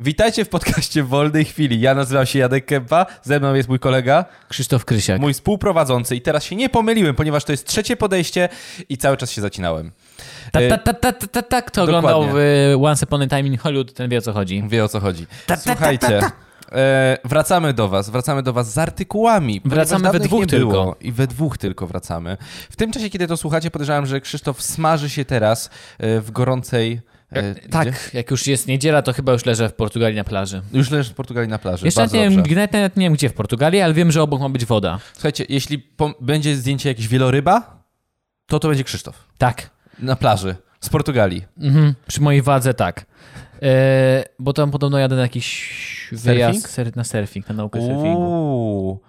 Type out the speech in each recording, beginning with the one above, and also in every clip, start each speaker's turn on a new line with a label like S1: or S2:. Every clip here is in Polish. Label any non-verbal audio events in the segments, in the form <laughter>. S1: Witajcie w podcaście Wolnej Chwili. Ja nazywam się Jadek Kępa, ze mną jest mój kolega,
S2: Krzysztof Krysiak.
S1: mój współprowadzący i teraz się nie pomyliłem, ponieważ to jest trzecie podejście i cały czas się zacinałem.
S2: Tak,
S1: E,
S2: tak, tak, tak, tak, tak, kto
S1: dokładnie.
S2: oglądał w e, Once Upon a Time in Hollywood, ten wie o co chodzi.
S1: Wie o co chodzi. Słuchajcie, e, wracamy do was, wracamy do was z artykułami. ponieważ
S2: Wracamy
S1: dawno
S2: we
S1: ich
S2: dwóch
S1: nie było
S2: tylko.
S1: I we dwóch tylko wracamy. W tym czasie, kiedy to słuchacie, podejrzewam, że Krzysztof smaży się teraz e, w gorącej... e, gdzie?
S2: Tak, jak już jest niedziela, to chyba już leżę w Portugalii na plaży.
S1: Już leżysz w Portugalii na plaży.
S2: Jeszcze nawet
S1: Bardzo
S2: nie,
S1: dobrze.
S2: wiem, nawet nawet nie wiem gdzie w Portugalii, ale wiem, że obok ma być woda.
S1: Słuchajcie, jeśli pom- będzie zdjęcie jakieś wieloryba, to to będzie Krzysztof.
S2: Tak.
S1: Na plaży. Z Portugalii.
S2: Mhm. Przy mojej wadze tak. E, bo tam podobno jadę na jakiś wyjazd ser, na surfing, na naukę surfingu.
S1: Uuu.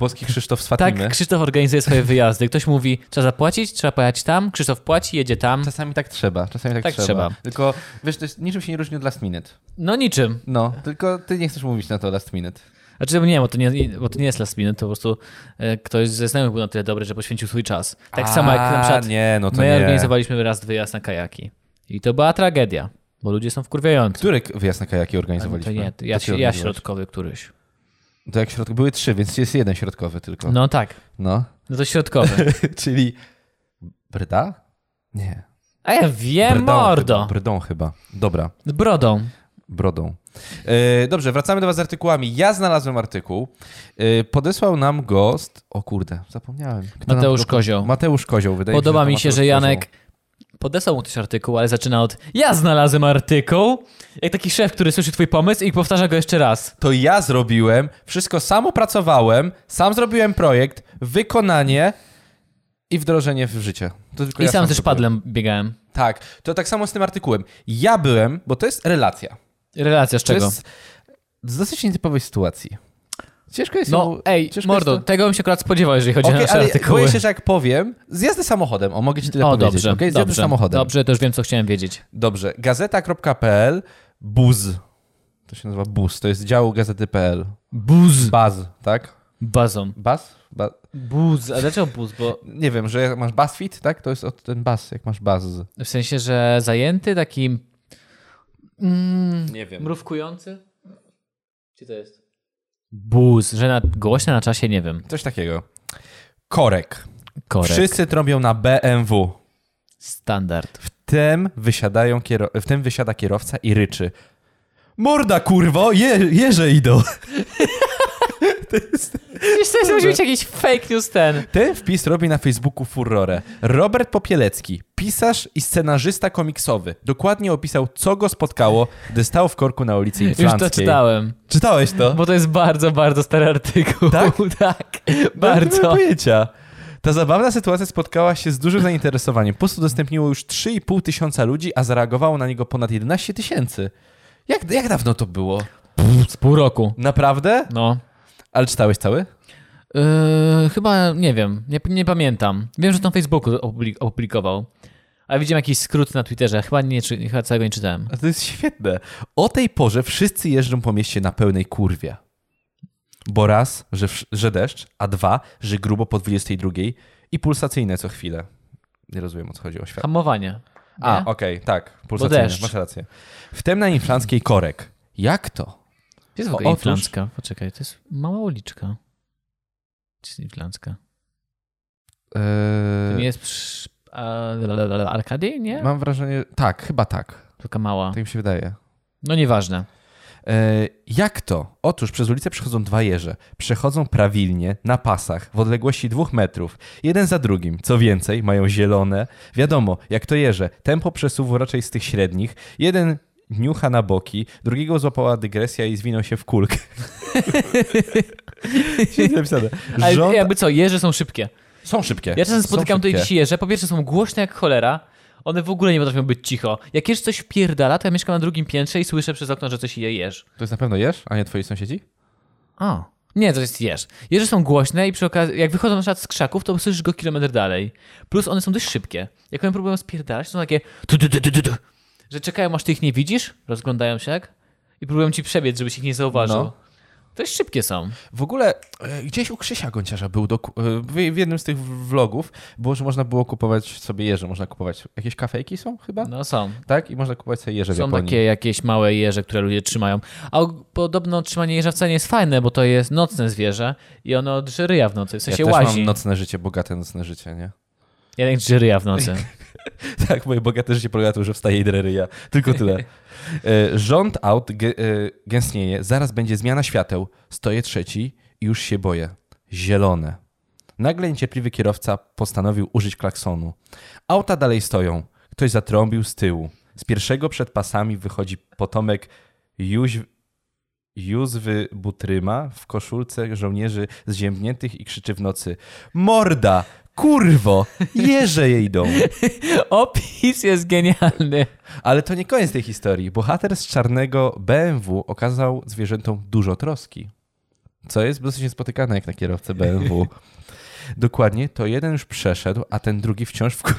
S1: Boski Krzysztof z
S2: Tak,
S1: Fatimy.
S2: Krzysztof organizuje swoje wyjazdy. Ktoś mówi, trzeba zapłacić, trzeba pojechać tam. Krzysztof płaci, jedzie tam.
S1: Czasami tak trzeba, czasami tak,
S2: Tak
S1: trzeba.
S2: trzeba.
S1: Tylko, wiesz, to jest, niczym się nie różni od last minute.
S2: No niczym.
S1: No, tylko ty nie chcesz mówić na to last minute.
S2: Znaczy, nie, bo to nie, bo to nie jest last minute, to po prostu e, ktoś ze znajomych był na tyle dobry, że poświęcił swój czas. Tak samo jak na
S1: A,
S2: przykład
S1: nie, no to
S2: my
S1: nie.
S2: organizowaliśmy raz wyjazd na kajaki. I to była tragedia, bo ludzie są wkurwiający.
S1: Który wyjazd na kajaki
S2: Ale To
S1: organizowaliśmy?
S2: nie, to ja,
S1: To ty
S2: ja
S1: organizowałeś.
S2: środkowy któryś.
S1: To jak środkowy? Były trzy, więc jest jeden środkowy tylko. No. <laughs>
S2: No tak, no to środkowy.
S1: Czyli Bryda? Nie.
S2: A ja wiem,
S1: Brdą chyba,
S2: E, mordo.
S1: Brydą chyba. Dobra.
S2: Z brodą.
S1: brodą. E, dobrze, wracamy do Was z artykułami. Ja znalazłem artykuł. E, podesłał nam gost. O kurde, zapomniałem. Kto nam
S2: Mateusz
S1: go-
S2: Kozioł.
S1: Mateusz Kozioł, wydaje
S2: Podoba
S1: mi się.
S2: mi się,
S1: to
S2: że
S1: Mateusz
S2: Janek
S1: Kozioł.
S2: podesłał mu też artykuł, ale zaczyna od ja znalazłem artykuł. Jak taki szef, który słyszy twój pomysł i powtarza go jeszcze raz.
S1: To ja zrobiłem, wszystko sam opracowałem, sam zrobiłem projekt, wykonanie i wdrożenie w życie. To tylko
S2: I
S1: ja
S2: sam też
S1: zrobiłem.
S2: padlem biegałem.
S1: Tak, to tak samo z tym artykułem. Ja byłem, bo to jest relacja.
S2: Relacja z
S1: To
S2: czego?
S1: jest z dosyć nietypowej sytuacji. Ciężko jest
S2: No
S1: ją-
S2: ej,
S1: ciężko
S2: mordo,
S1: jest to-
S2: tego bym się akurat spodziewał, jeżeli chodzi o
S1: Okej,
S2: nasze
S1: ale
S2: artykuły.
S1: boję się, że jak powiem, zjazdy samochodem, o mogę ci tyle
S2: o,
S1: powiedzieć.
S2: dobrze,
S1: okej? Zjazdy
S2: dobrze,
S1: samochodem.
S2: dobrze, to już wiem, co chciałem wiedzieć.
S1: Dobrze. Gazeta.pl, buz. To się nazywa buz, to jest dział gazety.pl.
S2: Buz.
S1: Baz, tak?
S2: Bazą.
S1: Baz? Ba...
S2: Buz, a dlaczego buz? Bo
S1: Nie wiem, że jak masz BuzzFeed, tak? To jest od ten baz, jak masz baz.
S2: w sensie, że zajęty, taki mm,
S1: Nie wiem.
S2: mrówkujący? Czy to jest? Buz, że na, głośne na czasie, nie wiem.
S1: Coś takiego. Korek.
S2: Korek.
S1: Wszyscy trąbią na BMW. <laughs>
S2: Standard.
S1: W tym, wysiadają kiero... w tym wysiada kierowca i ryczy. Morda, kurwo, je, jeże idą.
S2: Wiesz, to jest musi być jakiś fake news ten.
S1: Ten wpis robi na Facebooku furorę. Robert Popielecki, pisarz i scenarzysta komiksowy, dokładnie opisał, co go spotkało, gdy stał w korku na ulicy
S2: Już
S1: Inflanckiej.
S2: to czytałem,
S1: Czytałeś to? No,
S2: bo to jest bardzo, bardzo stary artykuł.
S1: Tak?
S2: <laughs>
S1: No,
S2: tak
S1: Nie mam
S2: bardzo.
S1: pojęcia. Ta zabawna sytuacja spotkała się z dużym zainteresowaniem. Post udostępniło już 3,5 tysiąca ludzi, a zareagowało na niego ponad 11 tysięcy. Jak, jak dawno to było?
S2: Z pół roku.
S1: Naprawdę?
S2: No.
S1: Ale czytałeś cały?
S2: Yy, chyba nie wiem, nie, nie pamiętam. Wiem, że to na Facebooku opublik- opublikował. Ale widziałem jakiś skrót na Twitterze, chyba, nie, czy, chyba całego nie czytałem.
S1: A to jest świetne. O tej porze wszyscy jeżdżą po mieście na pełnej kurwie. Bo raz, że, wsz- że deszcz, a dwa, że grubo po 22 i pulsacyjne co chwilę. Nie rozumiem, o co chodzi o świat.
S2: Hamowanie. Nie?
S1: A, okej, tak, pulsacyjne,
S2: deszcz.
S1: masz rację. Wtem na inflanckiej korek. Jak to?
S2: Gdzie jest w
S1: o,
S2: ogóle
S1: otóż-
S2: Inflandzka? Poczekaj, to jest mała uliczka. Gdzie jest
S1: E.
S2: Inflandzka? To nie
S1: Eee,
S2: jest przy... A, la, la, la, la, Arkadii, nie?
S1: mam wrażenie, tak, chyba tak.
S2: Tylko mała.
S1: Tak mi się wydaje.
S2: No nieważne.
S1: E, Jak to? Otóż przez ulicę przechodzą dwa jeże. Przechodzą prawilnie, na pasach, w odległości dwóch metrów. Jeden za drugim. Co więcej, mają zielone. Wiadomo, jak to jeże. Tempo przesuwu raczej z tych średnich. Jeden niucha na boki, drugiego złapała dygresja i zwinął się w kulkę.
S2: <laughs>
S1: Świetnie napisane.
S2: Ale
S1: Rząd...
S2: jakby co, jeże są szybkie.
S1: Są szybkie.
S2: Ja czasem
S1: Są
S2: spotykam tutaj
S1: szybkie.
S2: dziś jeże, po pierwsze są głośne jak cholera, one w ogóle nie potrafią być cicho. Jak jeż coś pierdala, to ja mieszkam na drugim piętrze i słyszę przez okno, że coś je jeż.
S1: To jest na pewno jeż, a nie twoi sąsiedzi?
S2: A. Nie, to jest jeż. Jeże są głośne i przy okazji, jak wychodzą na przykład z krzaków, to słyszysz go kilometr dalej. Plus one są dość szybkie. Jak one próbują spierdalać, to są takie tu, tu, tu, tu, tu, tu, że czekają aż ty ich nie widzisz, rozglądają się jak i próbują ci przebiec, żebyś ich nie zauważył.
S1: No.
S2: Dość szybkie są.
S1: W ogóle e, gdzieś u Krzysia Gonciarza był doku- e, w- w jednym z tych vlogów było, że można było kupować sobie jeże. Można kupować. Jakieś kafejki są chyba?
S2: No są.
S1: Tak? I można kupować sobie jeże w
S2: Są
S1: Japonii.
S2: takie jakieś małe jeże, które ludzie trzymają. A og- podobno trzymanie jeża wcale nie jest fajne, bo to jest nocne zwierzę i ono drzeryja w nocy, w
S1: ja
S2: sensie
S1: też
S2: łazi.
S1: mam nocne życie, bogate nocne życie, nie?
S2: Janek drzeryja w nocy.
S1: <laughs> Tak, moje bogate życie polega na tym, że wstaje i dreryja. Tylko tyle. E, Rząd aut gę- e, gęstnieje, zaraz będzie zmiana świateł. Stoję trzeci i już się boję. Zielone. Nagle niecierpliwy kierowca postanowił użyć klaksonu. Auta dalej stoją. Ktoś zatrąbił z tyłu. Z pierwszego przed pasami wychodzi potomek Jóź... Józwy Butryma w koszulce żołnierzy zziębniętych i krzyczy w nocy Morda! Kurwo! Jeże jej dom!
S2: Opis jest genialny.
S1: Ale to nie koniec tej historii. Bohater z czarnego BMW okazał zwierzętom dużo troski. Co jest dosyć niespotykane jak na kierowcę BMW. Dokładnie, to jeden już przeszedł, a ten drugi wciąż w, ku-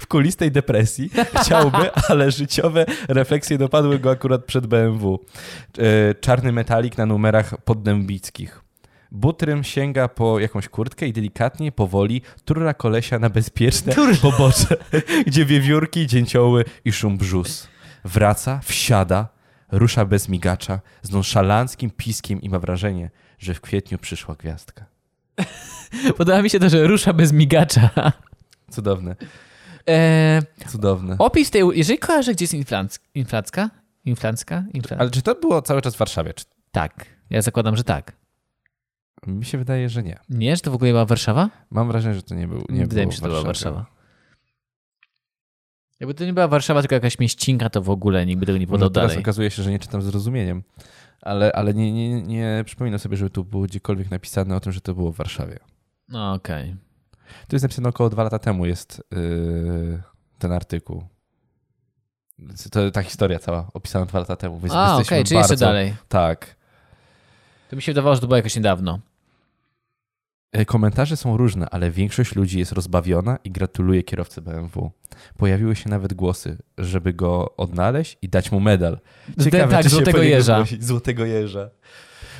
S1: w kulistej depresji chciałby, ale życiowe refleksje dopadły go akurat przed BMW. E, Czarny metalik na numerach poddębickich. Butrym sięga po jakąś kurtkę i delikatnie, powoli turla kolesia na bezpieczne pobocze, gdzie wiewiórki, dzięcioły i szum brzus. Wraca, wsiada, rusza bez migacza, z nonszalanckim piskiem i ma wrażenie, że w kwietniu przyszła gwiazdka.
S2: Podoba mi się to, że rusza bez migacza.
S1: Cudowne,
S2: E,
S1: cudowne.
S2: opis tej, jeżeli kojarzę, gdzie jest inflanc, inflacka? Inflancka? Inflan...
S1: Ale czy to było cały czas w Warszawie? Czy...
S2: Tak, ja zakładam, że tak.
S1: Mi się wydaje, że nie.
S2: Nie, że to w ogóle była Warszawa?
S1: Mam wrażenie, że to nie był. Nie
S2: Wydaje
S1: było
S2: mi się, że to była
S1: w
S2: Warszawa. Jakby to nie była Warszawa, tylko jakaś mieścinka, to w ogóle nikt by tego nie
S1: Może
S2: podał
S1: no, teraz
S2: dalej.
S1: okazuje się, że nie czytam zrozumieniem, ale, ale nie, nie, nie przypominam sobie, żeby tu było gdziekolwiek napisane o tym, że to było w Warszawie.
S2: No okej.
S1: Tu jest napisane około dwa lata temu jest yy, ten artykuł. Więc To, ta historia cała opisana dwa lata temu. Więc
S2: A, okej,
S1: jesteśmy
S2: czyli jeszcze
S1: bardzo-
S2: dalej.
S1: Tak.
S2: To mi się wydawało, że to było jakoś niedawno.
S1: E, Komentarze są różne, ale większość ludzi jest rozbawiona i gratuluje kierowcy BMW. Pojawiły się nawet głosy, żeby go odnaleźć i dać mu medal.
S2: tak,
S1: czy się
S2: złotego
S1: po niego
S2: jeża.
S1: zgłosi- Złotego jeża.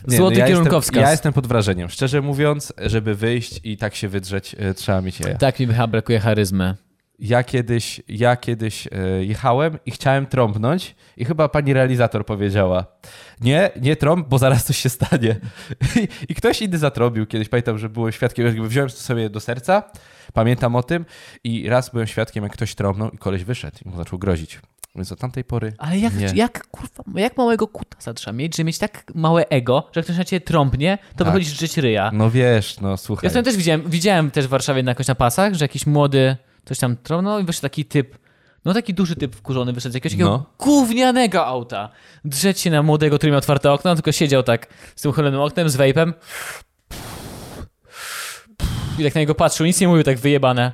S2: Złoty
S1: Jestem,
S2: kierunkowskaz.
S1: ja jestem pod wrażeniem. Szczerze mówiąc, żeby wyjść i tak się wydrzeć, e, trzeba mieć jaja.
S2: Tak mi chyba brakuje charyzmy.
S1: Ja kiedyś, ja kiedyś e, jechałem i chciałem trąbnąć i chyba pani realizator powiedziała nie, nie trąb, bo zaraz coś się stanie. <laughs> I, i ktoś inny zatrąbił kiedyś. Pamiętam, że byłem świadkiem, jakby wziąłem to sobie do serca, pamiętam o tym i raz byłem świadkiem, jak ktoś trąbnął i koleś wyszedł i mu zaczął grozić. Więc od tamtej pory
S2: Ale jak,
S1: Nie.
S2: jak kurwa, jak małego kutasa trzeba mieć, że mieć tak małe ego, że jak ktoś na ciebie trąbnie, to
S1: Tak.
S2: wychodzisz żyć ryja.
S1: no wiesz, no
S2: Ja
S1: słuchaj.
S2: sobie też widziałem, widziałem też w Warszawie na jakoś na pasach, że jakiś młody coś tam trąbnął i wyszedł taki typ, no taki duży typ wkurzony wyszedł z jakiegoś takiego
S1: No.
S2: gównianego auta. Drzeć się na młodego, który miał otwarte okno, tylko siedział tak z tym uchylonym oknem, z vapem. I tak na niego patrzył, nic nie mówił, tak wyjebane.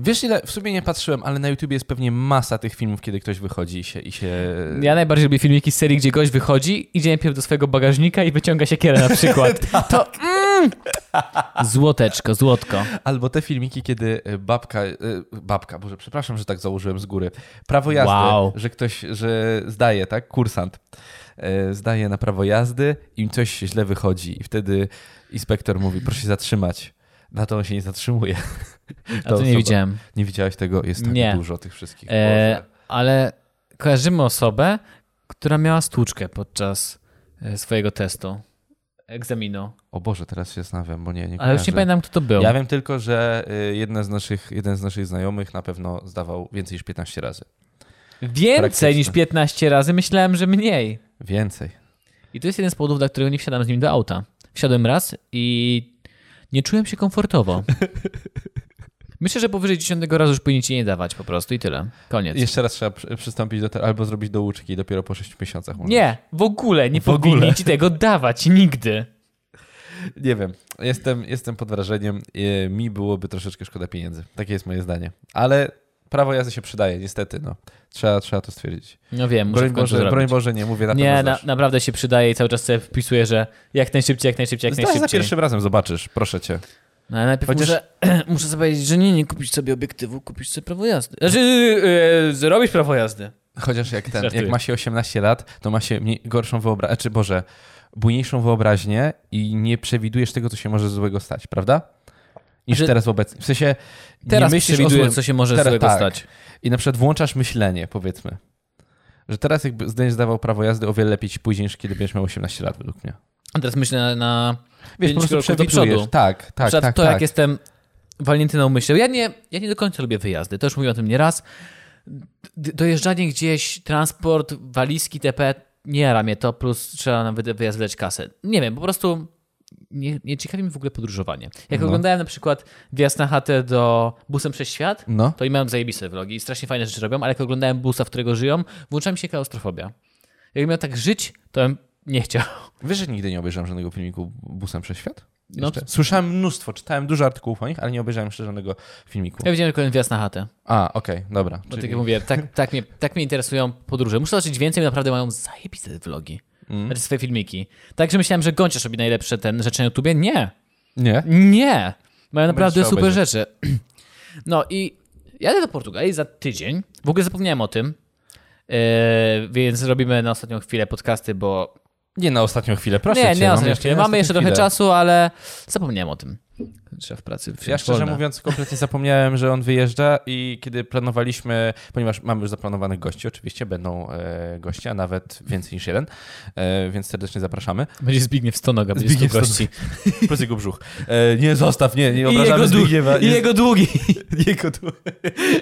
S1: Wiesz ile, w sumie nie patrzyłem, ale na YouTubie jest pewnie masa tych filmów, kiedy ktoś wychodzi i się... I się...
S2: Ja najbardziej lubię filmiki z serii, gdzie gość wychodzi, idzie najpierw do swojego bagażnika i wyciąga siekierę na przykład. To... Mm, złoteczko, złotko.
S1: Albo te filmiki, kiedy y, babka, y, babka, boże, przepraszam, że tak założyłem z góry. Prawo jazdy,
S2: Wow.
S1: że ktoś, że zdaje, tak? Kursant y, zdaje na prawo jazdy, im coś źle wychodzi i wtedy inspektor mówi, proszę się zatrzymać. Na to on się nie zatrzymuje. <laughs>
S2: A to nie widziałem.
S1: Nie widziałeś tego? Jest tak
S2: Nie.
S1: dużo tych wszystkich.
S2: E,
S1: Boże.
S2: ale kojarzymy osobę, która miała stłuczkę podczas e, swojego testu, egzaminu.
S1: O Boże, teraz się znawiam, bo nie, nie
S2: Ale już nie
S1: kojarzę.
S2: pamiętam, kto to był.
S1: Ja wiem tylko, że y, jedna z naszych, jeden z naszych znajomych na pewno zdawał więcej niż 15 razy.
S2: Więcej niż
S1: Praktyczne.
S2: 15 razy, myślałem, że mniej.
S1: Więcej.
S2: I to jest jeden z powodów, dla którego nie wsiadam z nim do auta. Wsiadłem raz i nie czułem się
S1: <laughs>
S2: komfortowo. Myślę, że powyżej 10 razu już powinien ci nie dawać po prostu i tyle. Koniec.
S1: Jeszcze raz trzeba przy- przystąpić do tego, albo zrobić douczki dopiero po 6 miesiącach. może.
S2: Nie, w ogóle nie
S1: W ogóle.
S2: powinni ci tego dawać nigdy.
S1: Nie wiem. Jestem, jestem pod wrażeniem. E, Mi byłoby troszeczkę szkoda pieniędzy. Takie jest moje zdanie. Ale prawo jazdy się przydaje, niestety. No. Trzeba, trzeba to stwierdzić.
S2: No wiem, muszę
S1: Broń
S2: w końcu
S1: Boże,
S2: zrobić.
S1: broń Boże, nie mówię na
S2: Nie,
S1: pewno
S2: na,
S1: zdasz.
S2: naprawdę się przydaje i cały czas sobie wpisuję, że jak najszybciej, jak najszybciej, jak
S1: Zdasz za
S2: najszybciej.
S1: pierwszym razem, zobaczysz, proszę cię.
S2: No, ale najpierw
S1: Chociaż-
S2: muszę, <clears throat> muszę sobie powiedzieć, że nie, nie kupić sobie obiektywu, kupić sobie prawo jazdy. Znaczy, e, zrobić prawo jazdy.
S1: Chociaż jak ten,
S2: Żartuję.
S1: jak ma się 18 lat, to ma się mniej, gorszą wyobraźnię. Czy znaczy, Boże, bujniejszą wyobraźnię i nie przewidujesz tego, co się może złego stać, prawda? Niż
S2: Że-
S1: teraz obecnie. W sensie
S2: Teraz
S1: nie
S2: myślisz
S1: myślisz
S2: o
S1: przewiduje...
S2: złym, co się może
S1: teraz-
S2: złego
S1: tak.
S2: stać.
S1: i na przykład włączasz myślenie, powiedzmy. Że teraz jakby zdajesz zdawał prawo jazdy o wiele lepiej ci później niż kiedy będziesz miał 18 lat według mnie.
S2: A teraz myślę na, na
S1: Wiesz, po
S2: Pięć
S1: prostu
S2: kroków do
S1: przewidujesz.
S2: przodu.
S1: Tak, tak,
S2: przykład
S1: tak.
S2: to,
S1: tak.
S2: jak jestem walnięty na umyśle. Ja nie, ja nie do końca lubię wyjazdy, to już mówiłem o tym nieraz. D- Dojeżdżanie gdzieś, transport, walizki, TP, nie jara mnie to, plus trzeba na wy- wyjazd wydać kasę. Nie wiem, po prostu nie, nie ciekawi mi w ogóle podróżowanie. Jak
S1: No.
S2: oglądałem na przykład wjazd na chatę do busem przez świat,
S1: No.
S2: to i mają zajebiste vlogi i strasznie fajne rzeczy robią, ale jak oglądałem busa, w którego żyją, włącza mi się klaustrofobia. Jak miał tak żyć, to bym nie chciał. <laughs>
S1: Wiesz, że nigdy nie obejrzałem żadnego filmiku busem przez świat?
S2: No,
S1: Jeszcze. Słyszałem mnóstwo, czytałem dużo artykułów o nich, ale nie obejrzałem jeszcze żadnego filmiku.
S2: Ja widziałem tylko wjazd na chatę.
S1: A, okej, dobra.
S2: Bo
S1: czyli-
S2: tak jak mówię, tak, tak, mnie, tak mnie interesują podróże. Muszę zobaczyć więcej, bo naprawdę mają zajebiste te vlogi.
S1: Mm.
S2: Znaczy swoje filmiki. Także myślałem, że Gonciarz robi najlepsze ten rzeczy na YouTubie. Nie.
S1: Nie?
S2: Nie. Mają naprawdę
S1: trzeba
S2: super
S1: obejrzeć.
S2: rzeczy. <clears throat> No i jadę do Portugalii za tydzień. W ogóle zapomniałem o tym. Yy, więc robimy na ostatnią chwilę podcasty, bo...
S1: Nie na ostatnią chwilę, proszę
S2: nie,
S1: cię.
S2: nie na
S1: no,
S2: ostatnią
S1: jeszcze
S2: chwilę.
S1: na
S2: Mamy jeszcze
S1: ostatnią
S2: trochę
S1: chwilę.
S2: czasu, ale zapomniałem o tym. Trzeba w pracy wziąć
S1: Ja szczerze
S2: wolne.
S1: mówiąc, kompletnie zapomniałem, że on wyjeżdża i kiedy planowaliśmy, ponieważ mamy już zaplanowanych gości, oczywiście będą e, goście, a nawet więcej niż jeden, e, więc serdecznie zapraszamy.
S2: Będzie Zbigniew Stonoga, będzie Zbigniew
S1: Zbigniew
S2: gości.
S1: Plus jego brzuch. E, nie, zostaw, nie, nie
S2: I
S1: obrażamy
S2: jego,
S1: Zbigniewa.
S2: dłu- I
S1: nie-
S2: jego długi.
S1: <laughs> Jego tu.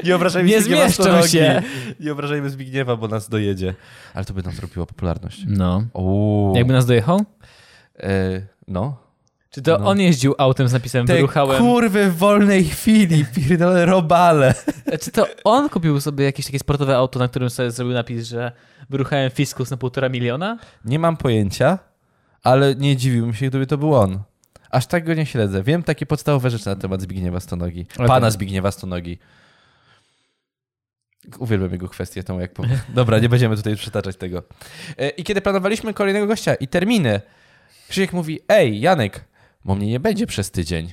S1: Nie obrażajmy
S2: Nie
S1: Zbigniewa
S2: zmieszczą
S1: Storogi.
S2: się.
S1: Nie obrażajmy Zbigniewa, bo nas dojedzie. Ale to by nam zrobiło popularność.
S2: No.
S1: Uuu.
S2: Jakby nas dojechał?
S1: E, no.
S2: Czy to on jeździł autem z napisem wyruchałem?
S1: kurwy w wolnej chwili, pierdolę robale.
S2: E, Czy to on kupił sobie jakieś takie sportowe auto, na którym sobie zrobił napis, że wyruchałem fiskus na półtora miliona?
S1: Nie mam pojęcia, ale nie dziwiłbym się, gdyby to był on. Aż tak go nie śledzę. Wiem takie podstawowe rzeczy na temat Zbigniewa Stonogi.
S2: Ale
S1: Pana
S2: tak.
S1: Zbigniewa Stonogi. Uwielbiam jego kwestię, tą jak powiem. <laughs> Dobra, nie będziemy tutaj przytaczać tego. E, I kiedy planowaliśmy kolejnego gościa i terminy, Krzysiek mówi, ej, Janek, bo mnie nie będzie przez tydzień.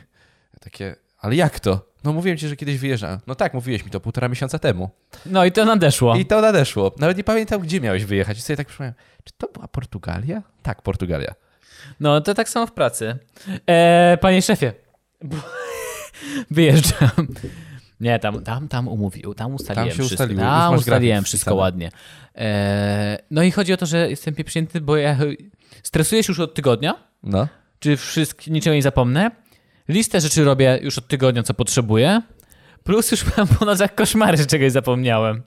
S1: Ja Takie, ale jak to? No mówiłem ci, że kiedyś wyjeżdżam. No tak, mówiłeś mi to półtora miesiąca temu.
S2: No i to nadeszło.
S1: I to nadeszło. Nawet nie pamiętam, gdzie miałeś wyjechać. I sobie tak przypomniałem, czy to była Portugalia? Tak, Portugalia.
S2: No to tak samo w pracy. E, panie szefie, <laughs> bo- wyjeżdżam. Nie, tam, tam, tam umówił, tam ustaliłem
S1: się
S2: wszystko.
S1: ustaliło, już
S2: Tam
S1: masz
S2: ustaliłem
S1: grafik
S2: wszystko
S1: wpisany.
S2: ładnie. E, no i chodzi o to, że jestem pieprzyjęty, bo ja stresuję się już od tygodnia.
S1: No.
S2: czy wszystko, niczego nie zapomnę. Listę rzeczy robię już od tygodnia, co potrzebuję. Plus już mam po nocach koszmary, że czegoś zapomniałem.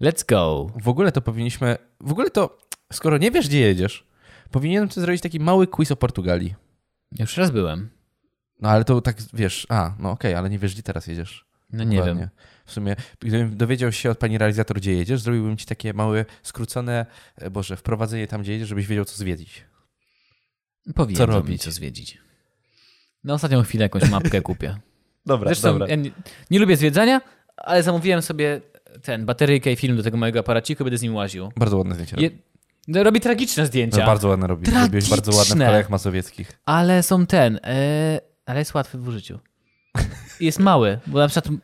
S2: Let's go.
S1: W ogóle to powinniśmy. W ogóle to, skoro nie wiesz, gdzie jedziesz, powinienem ty zrobić taki mały quiz o Portugalii.
S2: Ja Już raz byłem.
S1: No ale to tak wiesz, a, no okej, ale nie wiesz, gdzie teraz jedziesz.
S2: No nie
S1: Dokładnie.
S2: wiem.
S1: W sumie, gdybym dowiedział się od pani realizator, gdzie jedziesz, zrobiłbym ci takie małe, skrócone, e, Boże, wprowadzenie tam, gdzie jedziesz, żebyś wiedział, co zwiedzić.
S2: Powinien
S1: Co
S2: co robić,
S1: robić?
S2: co zwiedzić. Na ostatnią chwilę jakąś mapkę kupię.
S1: <laughs> Dobra,
S2: Zresztą ja nie, nie lubię zwiedzania, ale zamówiłem sobie ten, bateryjkę i film do tego mojego aparaciku, będę z nim łaził.
S1: Bardzo ładne zdjęcie.
S2: Je,
S1: robi.
S2: no, robi tragiczne
S1: No,
S2: zdjęcia,
S1: bardzo ładne robisz. Robiłeś bardzo ładne w
S2: Tragiczne.
S1: krajach mazowieckich.
S2: ale są ten, e, ale jest łatwy w użyciu. I Jest mały, bo na przykład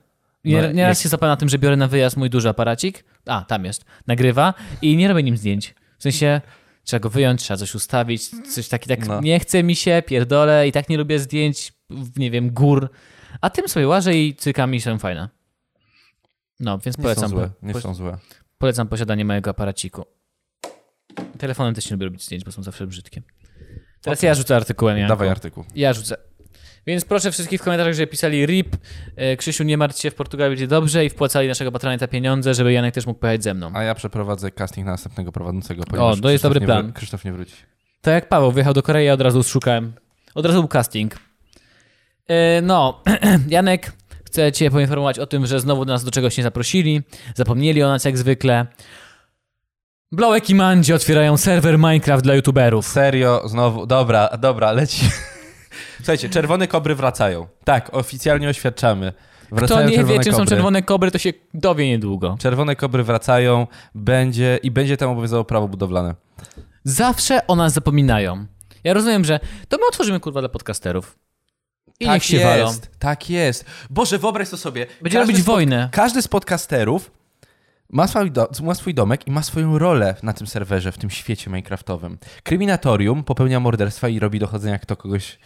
S2: nie,
S1: No,
S2: nieraz
S1: jak-
S2: się zapala na tym, że biorę na wyjazd mój duży aparacik, a tam jest, nagrywa i nie robię nim zdjęć. W sensie trzeba go wyjąć, trzeba coś ustawić, coś taki tak
S1: No.
S2: nie chce mi się, pierdolę i tak nie lubię zdjęć, w- nie wiem, gór. A tym sobie łażę i cykami są fajne. No, więc
S1: Nie są
S2: polecam,
S1: złe, nie
S2: po,
S1: są złe.
S2: polecam posiadanie mojego aparaciku. Telefonem też nie lubię robić zdjęć, bo są zawsze brzydkie. Teraz ja rzucę artykułem. Janku.
S1: Dawaj artykuł.
S2: Ja rzucę. Więc proszę wszystkich w komentarzach, żeby pisali RIP, e, Krzysiu nie martw się, w Portugalii będzie dobrze i wpłacali naszego patronata pieniądze, żeby Janek też mógł pojechać ze mną.
S1: A ja przeprowadzę casting na następnego prowadzącego, ponieważ
S2: to no jest
S1: Krzysztof
S2: dobry
S1: nie
S2: plan.
S1: wró- Krzysztof nie wróci.
S2: Tak jak Paweł wyjechał do Korei, ja od razu szukałem. Od razu był casting. E, No, <clears throat> Janek, chcę cię poinformować o tym, że znowu do nas do czegoś nie zaprosili, zapomnieli o nas jak zwykle. Blałek i Mandzi otwierają serwer Minecraft dla youtuberów.
S1: Serio, znowu. Dobra, dobra, leci. <laughs> Słuchajcie, czerwone kobry wracają. Tak, oficjalnie oświadczamy.
S2: Kto
S1: Wracają
S2: nie
S1: czerwone
S2: wie, czym są
S1: kobry.
S2: czerwone kobry, to się dowie niedługo.
S1: Czerwone kobry wracają, będzie i będzie tam obowiązywało prawo budowlane.
S2: Zawsze o nas zapominają. Ja rozumiem, że to my otworzymy kurwa dla podcasterów. I
S1: Tak
S2: niech się walą.
S1: jest, tak jest. Tak Boże, wyobraź to sobie.
S2: Będzie
S1: Każdy
S2: robić
S1: z pod-
S2: wojnę.
S1: Każdy z podcasterów Ma swój, do, ma swój domek i ma swoją rolę na tym serwerze, w tym świecie Minecraftowym. Kryminatorium popełnia morderstwa i robi dochodzenia, kto kogoś.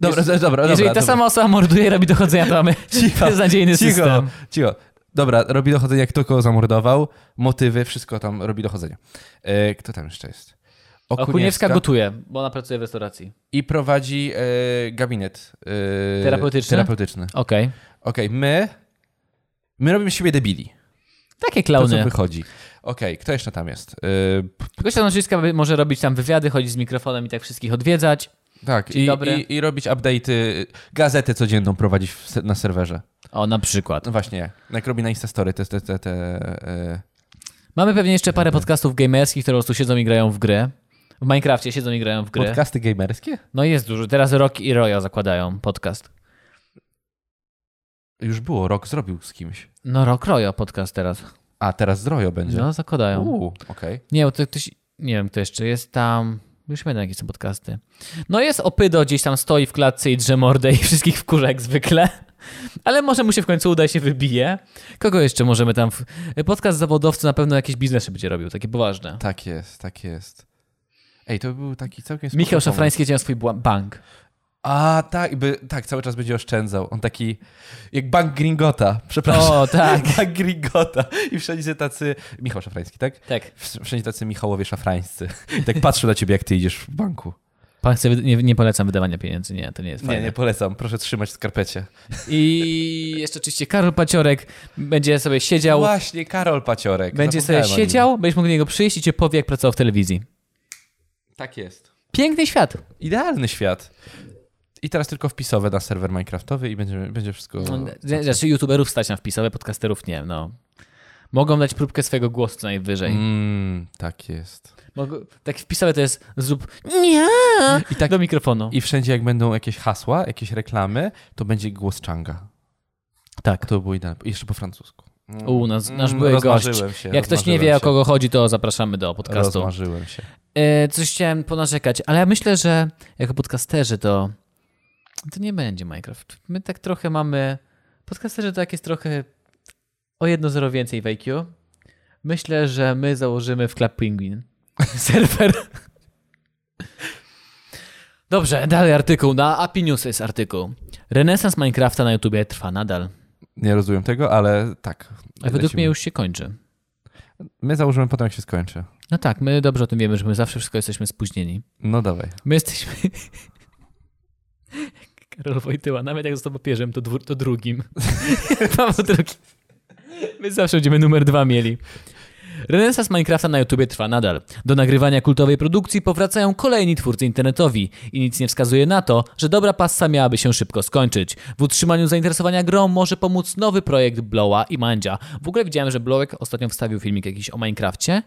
S1: Dobra,
S2: Jeż-
S1: dobra, dobra.
S2: Jeżeli
S1: dobra,
S2: ta sama osoba morduje i robi dochodzenia, to mamy
S1: Cicho,
S2: <laughs> beznadziejny
S1: cicho,
S2: system.
S1: Cicho. Dobra, robi dochodzenia, kto kogo zamordował, motywy, wszystko tam robi dochodzenia. E, kto tam jeszcze jest?
S2: Okuniewska, gotuje, bo ona pracuje w restauracji.
S1: I prowadzi e, gabinet e,
S2: Terapeutyczny?
S1: terapeutyczny.
S2: Okej.
S1: Okej, my. My robimy z siebie debili.
S2: Takie
S1: To, co
S2: klauny.
S1: wychodzi. Okej, kto jeszcze tam jest? E, p-
S2: Gościa Noczyńska może robić tam wywiady, chodzić z mikrofonem i tak wszystkich odwiedzać.
S1: tak,
S2: Dzień
S1: i,
S2: dobry.
S1: i, i robić update'y, gazetę codzienną prowadzić w, se- na serwerze.
S2: O, na przykład.
S1: No właśnie, jak robi na Instastory te, te, te, te e,
S2: Mamy pewnie jeszcze parę podcastów gamerskich, które po prostu siedzą i grają w gry. W Minecrafcie siedzą i grają w gry.
S1: podcasty gamerskie?
S2: No jest dużo. Teraz Rock i Roya zakładają podcast.
S1: Już było, rok zrobił z kimś.
S2: No Rock Roya podcast teraz.
S1: A, teraz zdrojo będzie.
S2: No zakładają.
S1: Uuu, okej.
S2: Nie, bo to ktoś, nie wiem kto jeszcze jest tam. Już pamiętam jakie są podcasty. No jest Opydo, gdzieś tam stoi w klatce i drze mordę i wszystkich wkurza jak zwykle. Ale może mu się w końcu uda i się wybije. Kogo jeszcze możemy tam... W... Podcast zawodowcy na pewno jakieś biznesy będzie robił, takie poważne.
S1: Tak jest, tak jest. Ej, to był taki całkiem spoko
S2: Michał
S1: pomysł.
S2: Szafrański działa swój bła-
S1: <laughs>
S2: bank.
S1: A, tak, by, tak, cały czas będzie oszczędzał. On taki, jak bank Gringota, przepraszam.
S2: O, tak.
S1: <laughs> Bank Gringota. I wszędzie tacy... Michał Szafrański, tak?
S2: Tak.
S1: Wsz- Wszędzie tacy Michałowie Szafrańscy. I tak patrzą na ciebie, jak ty idziesz w banku.
S2: Pan chce, wy- nie, nie polecam wydawania pieniędzy, nie, to nie jest
S1: Nie,
S2: fajne.
S1: nie polecam. Proszę trzymać w skarpecie.
S2: I jeszcze oczywiście Karol Paciorek będzie sobie siedział,
S1: Właśnie, Karol Paciorek.
S2: będzie sobie
S1: Zapomniałem o nim.
S2: siedział, będziesz mógł do niego przyjść i cię powie, jak pracował w telewizji.
S1: Tak jest.
S2: Piękny świat.
S1: Idealny świat. I teraz tylko wpisowe na serwer Minecraftowy i będzie, będzie wszystko...
S2: No, Znaczy youtuberów stać na wpisowe, podcasterów nie, no. Mogą dać próbkę swojego głosu co najwyżej.
S1: Mm, tak jest.
S2: Mogą, tak wpisowe to jest zrób nie
S1: I tak
S2: do mikrofonu.
S1: i wszędzie jak będą jakieś hasła, jakieś reklamy, to będzie głos Changa.
S2: tak.
S1: To by było idealne. I Jeszcze po francusku. Mm.
S2: U, nas, nasz
S1: Mm,
S2: były gość.
S1: rozmarzyłem się,
S2: Jak ktoś nie
S1: rozmarzyłem
S2: wie, o
S1: się.
S2: kogo chodzi, to zapraszamy do podcastu.
S1: Rozmarzyłem się.
S2: E, coś chciałem ponarzekać, ale ja myślę, że jako podcasterzy to to nie będzie Minecraft. My tak trochę mamy... Podcasterzy to jak jest trochę o jedno zero więcej w IQ. Myślę, że my założymy w Club Penguin <laughs> serwer. Dobrze, dalej artykuł. Na API News jest artykuł. Renesans Minecrafta na YouTubie trwa nadal.
S1: Nie rozumiem tego, ale tak.
S2: A według
S1: Lecimy.
S2: mnie już się kończy.
S1: My założymy potem, jak się skończy.
S2: No tak, my dobrze o tym wiemy, że my zawsze wszystko jesteśmy spóźnieni.
S1: No dawaj.
S2: My jesteśmy. Karol Wojtyła, nawet jak został papieżem, to, dwór, to drugim. <laughs> Paweł drugi. My zawsze będziemy numer dwa mieli. Renesans Minecrafta na YouTubie trwa nadal. Do nagrywania kultowej produkcji powracają kolejni twórcy internetowi i nic nie wskazuje na to, że dobra passa miałaby się szybko skończyć. W utrzymaniu zainteresowania grą może pomóc nowy projekt Blowa i Mandzia. W ogóle widziałem, że Blowek ostatnio wstawił filmik jakiś o Minecrafcie,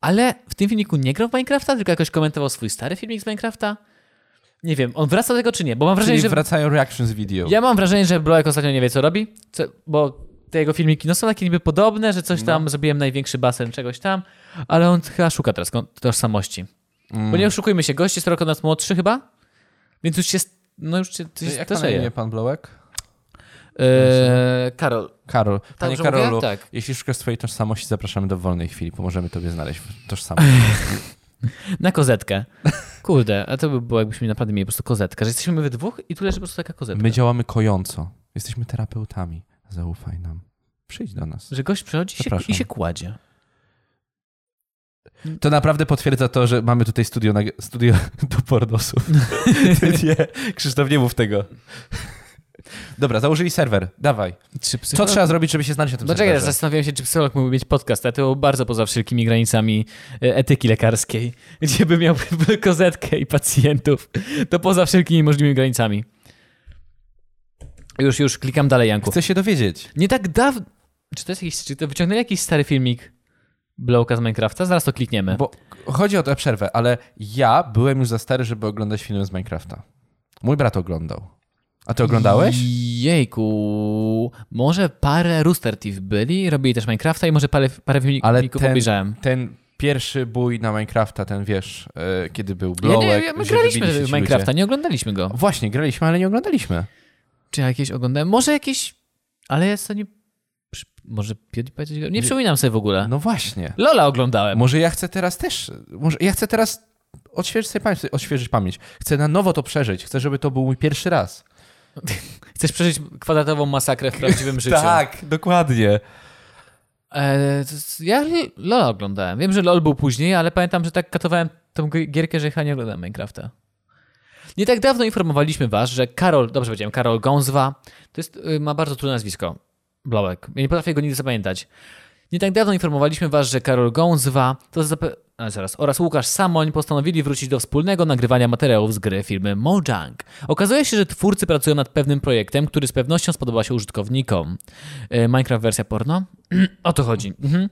S2: ale w tym filmiku nie grał w Minecrafta, tylko jakoś komentował swój stary filmik z Minecrafta. Nie wiem, on wraca do tego czy nie, bo mam wrażenie,
S1: Czyli
S2: że...
S1: wracają reactions video.
S2: Ja mam wrażenie, że Bloek ostatnio nie wie, co robi, co, bo te jego filmiki no, są takie niby podobne, że
S1: No.
S2: coś tam, zrobiłem największy basen czegoś tam, ale on chyba szuka teraz kon- tożsamości.
S1: Mm.
S2: Bo nie oszukujmy się, gość jest rok od nas młodszy chyba, więc już się, st- no już się coś
S1: Jak pan na
S2: starzeje.
S1: imię, pan Blołek?
S2: Eee, Karol,
S1: Karol. Panie
S2: że
S1: Karolu,
S2: mówię? Tak.
S1: jeśli szukasz swojej tożsamości, zapraszamy do wolnej chwili. Pomożemy tobie znaleźć tożsamość.
S2: <laughs> na kozetkę. <laughs> Kurde, a to by było, jakbyśmy naprawdę mieli po prostu kozetkę, że jesteśmy we dwóch i tu leży po prostu taka kozetka.
S1: My działamy kojąco. Jesteśmy terapeutami. Zaufaj nam. Przyjdź do nas.
S2: Że gość przychodzi się,
S1: Zapraszam.
S2: i się kładzie.
S1: To naprawdę potwierdza to, że mamy tutaj studio, na, studio <laughs> do <laughs> pornosów. nie, Krzysztof, nie mów tego. Dobra, założyli serwer. Dawaj.
S2: Czy
S1: Co trzeba zrobić, żeby się znaleźć na tym
S2: Dlaczego ja
S1: serwerze?
S2: No zastanawiałem się, czy psycholog mógłby mieć podcast, a to było bardzo poza wszelkimi granicami e, etyki lekarskiej, <laughs> gdzie by miał kozetkę i pacjentów. To poza wszelkimi możliwymi granicami. Już, już, klikam dalej, Janku.
S1: Chcę się dowiedzieć.
S2: Nie tak dawno... Czy to jest jakiś... Czy to wyciągnęli jakiś stary filmik Blowka z Minecrafta? Zaraz to klikniemy.
S1: Bo chodzi o tę przerwę, ale ja byłem już za stary, żeby oglądać filmy z Minecrafta. Mój brat oglądał. A ty oglądałeś?
S2: Jejku... Może parę Rooster Teeth byli, robili też Minecrafta i może parę, parę filmików
S1: Ale ten-
S2: obejrzałem.
S1: Ten pierwszy bój na Minecrafta, ten wiesz, e, kiedy był
S2: Ja
S1: blowek.
S2: nie, ja, my
S1: że
S2: graliśmy
S1: wybili się
S2: w
S1: ci
S2: Minecrafta,
S1: ludzie.
S2: nie oglądaliśmy go.
S1: Właśnie, graliśmy, ale nie oglądaliśmy.
S2: Czy ja jakieś oglądałem? Może jakieś, ale ja sobie nie Przy, może PewDiePie coś grał? Nie przypominam sobie w ogóle.
S1: No właśnie.
S2: Lola oglądałem.
S1: Może ja chcę teraz też. Może ja chcę teraz odświeżyć, sobie pamięć, odświeżyć pamięć. Chcę na nowo to przeżyć. Chcę, żeby to był mój pierwszy raz.
S2: Chcesz przeżyć kwadratową masakrę w
S1: <laughs>
S2: prawdziwym życiu.
S1: Tak, dokładnie.
S2: E, to jest- ja li- Lola oglądałem. Wiem, że LOL był później, ale pamiętam, że tak katowałem tą gry- gierkę, że chyba nie oglądałem Minecrafta. Nie tak dawno informowaliśmy was, że Karol, dobrze powiedziałem, Karol Gązwa, to jest, y, ma bardzo trudne nazwisko, Blałek. Ja nie potrafię go nigdy zapamiętać. Nie tak dawno informowaliśmy was, że Karol Gązwa to zape- a, zaraz, oraz Łukasz Samoń postanowili wrócić do wspólnego nagrywania materiałów z gry firmy Mojang. Okazuje się, że twórcy pracują nad pewnym projektem, który z pewnością spodoba się użytkownikom. E, Minecraft wersja porno? <clears throat> o to chodzi. Mhm.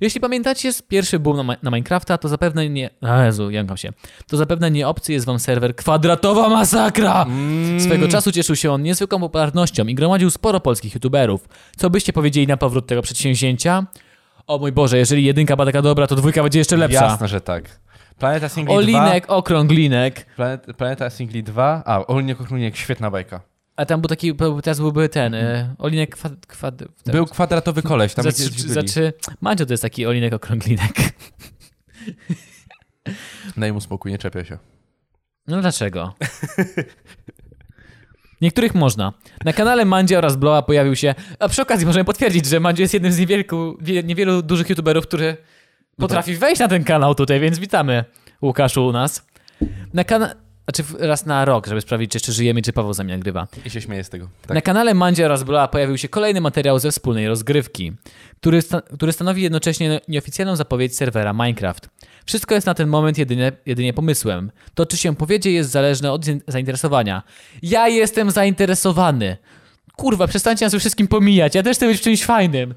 S2: Jeśli pamiętacie z pierwszy boom na, Ma- na Minecrafta, to zapewne nie... A Jezu, jąkam się. To zapewne nie obcy jest wam serwer Kwadratowa Masakra!
S1: Mm.
S2: Swego czasu cieszył się on niezwykłą popularnością i gromadził sporo polskich youtuberów. Co byście powiedzieli na powrót tego przedsięwzięcia? O mój Boże, jeżeli jedynka była taka dobra, to dwójka będzie jeszcze lepsza.
S1: Jasne, że tak. Planeta Singli
S2: Olinek, okrąglinek.
S1: 2. Planet, Planeta Singli 2. A, Olinek Okrunek, świetna bajka.
S2: A tam był taki, był- teraz byłby ten, e, olinek kwad... kwad ten.
S1: Był kwadratowy koleś, tam
S2: Zaczy-
S1: gdzieś byli.
S2: zaczy... znaczy, Mandzio to jest taki olinek, okrąglinek.
S1: Daj mu spokój, nie czepia się.
S2: No dlaczego? Niektórych można. Na kanale Mandzia oraz Bloa pojawił się. A przy okazji możemy potwierdzić, że Mandzio jest jednym z niewielku, wie, niewielu dużych youtuberów, który potrafi wejść na ten kanał tutaj, więc witamy Łukaszu u nas. Na kanale. Znaczy w- raz na rok, żeby sprawdzić, czy jeszcze żyjemy, czy Paweł za mnie nagrywa.
S1: I się śmieje z tego. Tak.
S2: Na kanale Mandzia oraz Bloa pojawił się kolejny materiał ze wspólnej rozgrywki, który, sta- który stanowi jednocześnie no- nieoficjalną zapowiedź serwera Minecraft. Wszystko jest na ten moment jedynie, jedynie pomysłem. To, czy się powiedzie, jest zależne od zin- zainteresowania. Ja jestem zainteresowany. Kurwa, przestańcie nas we wszystkim pomijać. Ja też chcę być w czymś fajnym.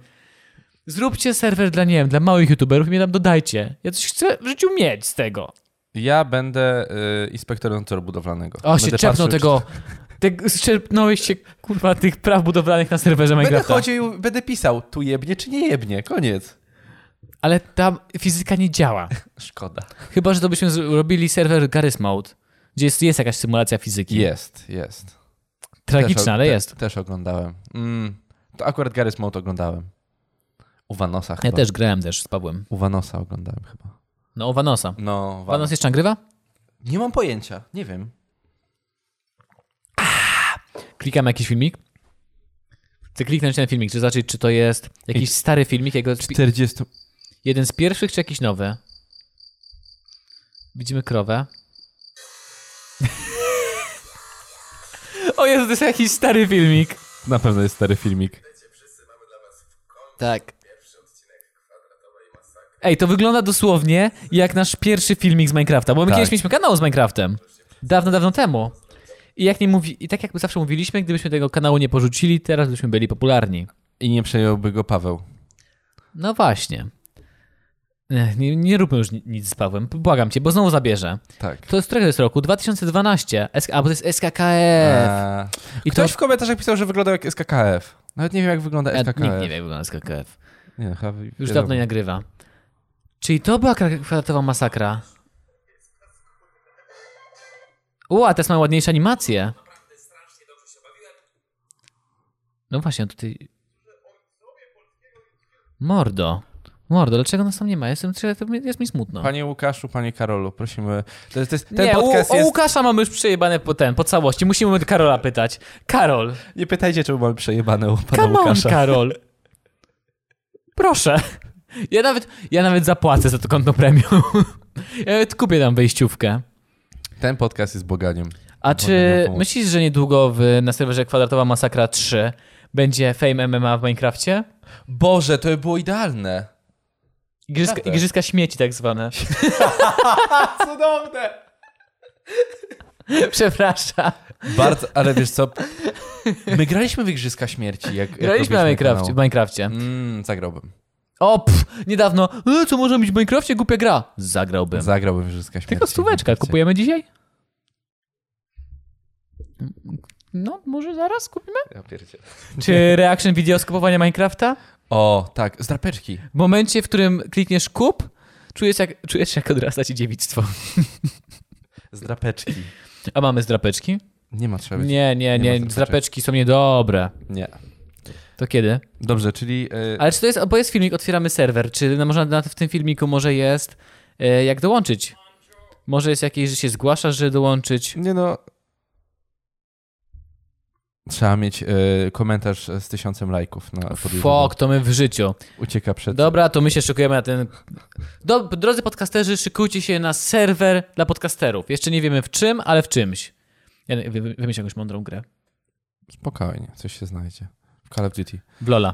S2: Zróbcie serwer dla, nie wiem, dla małych youtuberów i mnie tam dodajcie. Ja coś chcę w życiu mieć z tego.
S1: Ja będę y, inspektorem nadzoru budowlanego.
S2: O, się
S1: Będę patrzył,
S2: czepnął
S1: czy-
S2: tego... Te, szczepnąłeś się, kurwa, tych praw budowlanych na serwerze
S1: Będę
S2: Minecrafta.
S1: chodził, będę pisał, tu jebnie czy nie jebnie. Koniec.
S2: Ale tam fizyka nie działa.
S1: Szkoda.
S2: Chyba, że to byśmy zrobili serwer Garry's Mode, gdzie jest, jest jakaś symulacja fizyki.
S1: Jest, jest.
S2: Tragiczna,
S1: Też o-
S2: ale
S1: te-
S2: jest.
S1: Też oglądałem. Mm, to akurat Garry's Mode oglądałem. U Vanosa chyba.
S2: Ja też grałem też z Pawłem.
S1: U Vanosa oglądałem chyba.
S2: No, o Vanosa.
S1: No, Vanos.
S2: Vanos jeszcze nagrywa?
S1: Nie mam pojęcia, nie wiem.
S2: Klikam jakiś filmik. Chcę kliknąć ten filmik, czy zobaczyć, czy to jest jakiś stary filmik, jego,
S1: 40...
S2: jeden z pierwszych, czy jakiś nowy. Widzimy krowę. <laughs> o Jezu, to jest jakiś stary filmik.
S1: Na pewno jest stary filmik.
S2: Tak. Ej, to wygląda dosłownie jak nasz pierwszy filmik z Minecrafta, bo my
S1: Tak.
S2: kiedyś mieliśmy kanał z Minecraftem. Dawno, dawno temu. I, jak nie mówi, I tak jak zawsze mówiliśmy, gdybyśmy tego kanału nie porzucili, teraz byśmy byli popularni.
S1: I nie przejąłby go Paweł.
S2: No właśnie. Ech, Nie, nie róbmy już ni- nic z Pawłem, błagam cię, bo znowu zabierze.
S1: Tak.
S2: To jest którego to jest roku? 2012. S- a, bo to jest SKKF.
S1: Eee,
S2: I
S1: ktoś
S2: to...
S1: w komentarzach pisał, że wyglądał jak SKKF. Nawet nie wiem, jak wygląda
S2: Ja,
S1: SKKF.
S2: E, nikt nie wie, jak wygląda SKKF.
S1: Nie, chyba
S2: Już
S1: wiadomo.
S2: dawno nie nagrywa. Czyli to była kra- kwadratowa masakra. U, a teraz mają ładniejsze animacje. No właśnie, tutaj... Mordo. Mordo, dlaczego nas tam nie ma? Jestem, jest mi smutno.
S1: Panie Łukaszu, panie Karolu, prosimy. To jest, to jest, ten
S2: nie,
S1: podcast
S2: u,
S1: jest...
S2: o Łukasza mamy już przejebane po ten, po całości. Musimy Karola pytać. Karol,
S1: Nie pytajcie, czemu mamy przejebane u pana
S2: come on,
S1: Łukasza.
S2: Karol. Proszę. Ja nawet, ja nawet zapłacę za to konto premium. <laughs> Ja nawet kupię tam wejściówkę.
S1: Ten podcast jest boganiem.
S2: A czy
S1: pomóc.
S2: myślisz, że niedługo w, na serwerze Kwadratowa Masakra 3 będzie Fame MMA w Minecrafcie?
S1: Boże, to by było idealne.
S2: Igrzyska,
S1: Naprawdę.
S2: igrzyska śmieci
S1: <laughs>
S2: tak zwane. <laughs>
S1: Cudowne!
S2: Przepraszam.
S1: Bardzo, ale wiesz co? My graliśmy w Igrzyska Śmierci. Jak, jak
S2: Graliśmy na
S1: robiliśmy
S2: Minecraft, w
S1: kanał.
S2: Minecrafcie.
S1: Mm, zagrałbym.
S2: O, pff, niedawno. E, co może być w Minecrafcie? Głupia gra. Zagrałbym.
S1: Zagrałbym w Igrzyska Śmierci.
S2: Tylko stóweczka. Kupujemy dzisiaj? No, może zaraz kupimy?
S1: Ja pierdzielę.
S2: Czy reaction video z kupowania Minecrafta?
S1: o, tak, z drapeczki.
S2: W momencie, w którym klikniesz kup, czujesz, jak, czujesz się jak odrasta ci dziewictwo.
S1: <laughs> Z drapeczki.
S2: A mamy zdrapeczki?
S1: Nie ma trzeba być.
S2: Nie, nie,
S1: Nie ma
S2: nie.
S1: zdrapeczek.
S2: Zdrapeczki są niedobre.
S1: nie.
S2: To kiedy?
S1: Dobrze, czyli... e,
S2: Ale czy to jest, bo jest filmik, otwieramy serwer, czy na- może na, w tym filmiku może jest, e, jak dołączyć? Może jest jakieś, że się zgłaszasz, że dołączyć?
S1: Nie no... Trzeba mieć e, komentarz z tysiącem lajków na pod YouTube'em.
S2: Fok, to my w życiu.
S1: Ucieka przed...
S2: Dobra, to my się szykujemy na ten... Do, drodzy podcasterzy, szykujcie się na serwer dla podcasterów. Jeszcze nie wiemy w czym, ale w czymś. Ja nie- wy- wy- wymyśl jakąś mądrą grę.
S1: Spokojnie, coś się znajdzie. W Call of Duty.
S2: W Lola.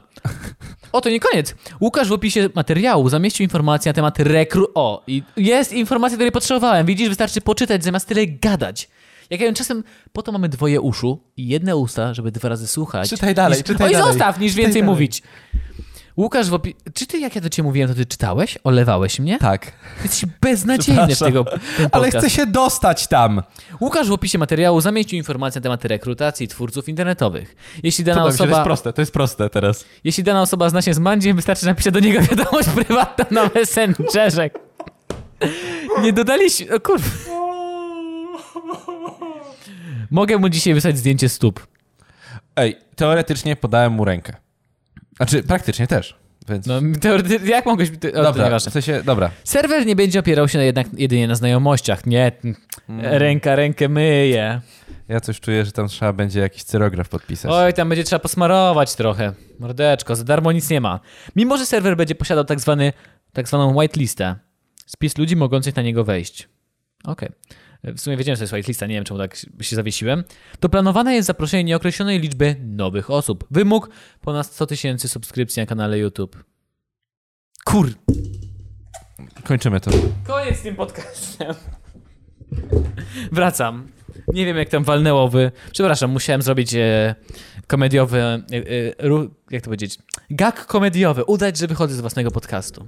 S2: O, to nie koniec. Łukasz w opisie materiału zamieścił informację na temat rekru. O, i jest informacja, której potrzebowałem. Widzisz, wystarczy poczytać zamiast tyle gadać. Jak ja wiem, czasem po to mamy dwoje uszu i jedne usta, żeby dwa razy słuchać.
S1: Czytaj dalej,
S2: niż...
S1: czytaj
S2: Oj,
S1: dalej.
S2: zostaw, niż
S1: Czytaj
S2: więcej
S1: dalej.
S2: mówić. Łukasz w opisie... Czy ty, jak ja do ciebie mówiłem, to ty czytałeś? Olewałeś mnie?
S1: Tak.
S2: Jesteś beznadziejny w
S1: Przepraszam.
S2: tego ten
S1: Ale
S2: podcast.
S1: chcę się dostać tam.
S2: Łukasz w opisie materiału zamieścił informację na temat rekrutacji twórców internetowych. Jeśli dana
S1: Podoba mi się, to
S2: osoba...
S1: jest proste, to jest proste teraz.
S2: Jeśli dana osoba zna się z Mandziem, wystarczy napisać do niego wiadomość prywatna na Messengerze. Nie dodaliście... O kurwa. Mogę mu dzisiaj wysłać zdjęcie stóp.
S1: Ej, teoretycznie podałem mu rękę. Znaczy, praktycznie też. Więc...
S2: No, teoretycznie, jak mogłeś... Te, o, to
S1: dobra,
S2: nieważne.
S1: w sensie, dobra.
S2: Serwer nie będzie opierał się na jednak jedynie na znajomościach. Nie, ręka rękę myje.
S1: Ja coś czuję, że tam trzeba będzie jakiś cyrograf podpisać.
S2: Oj, tam będzie trzeba posmarować trochę. Mordeczko, za darmo nic nie ma. Mimo, że serwer będzie posiadał tak, zwany, tak zwaną whitelistę. Spis ludzi mogących na niego wejść. Okej. W sumie wiedziałem, że to jest whitelista, nie wiem czemu tak się zawiesiłem. To planowane jest zaproszenie nieokreślonej liczby nowych osób. Wymóg ponad 100 tysięcy subskrypcji na kanale YouTube. Kur...
S1: Kończymy to.
S2: Koniec z tym podcastem. Wracam. Nie wiem, jak tam walnęło wy. Przepraszam, musiałem zrobić e, komediowy. E, e, ru, jak to powiedzieć? Gag komediowy. Udać, że wychodzę z własnego podcastu.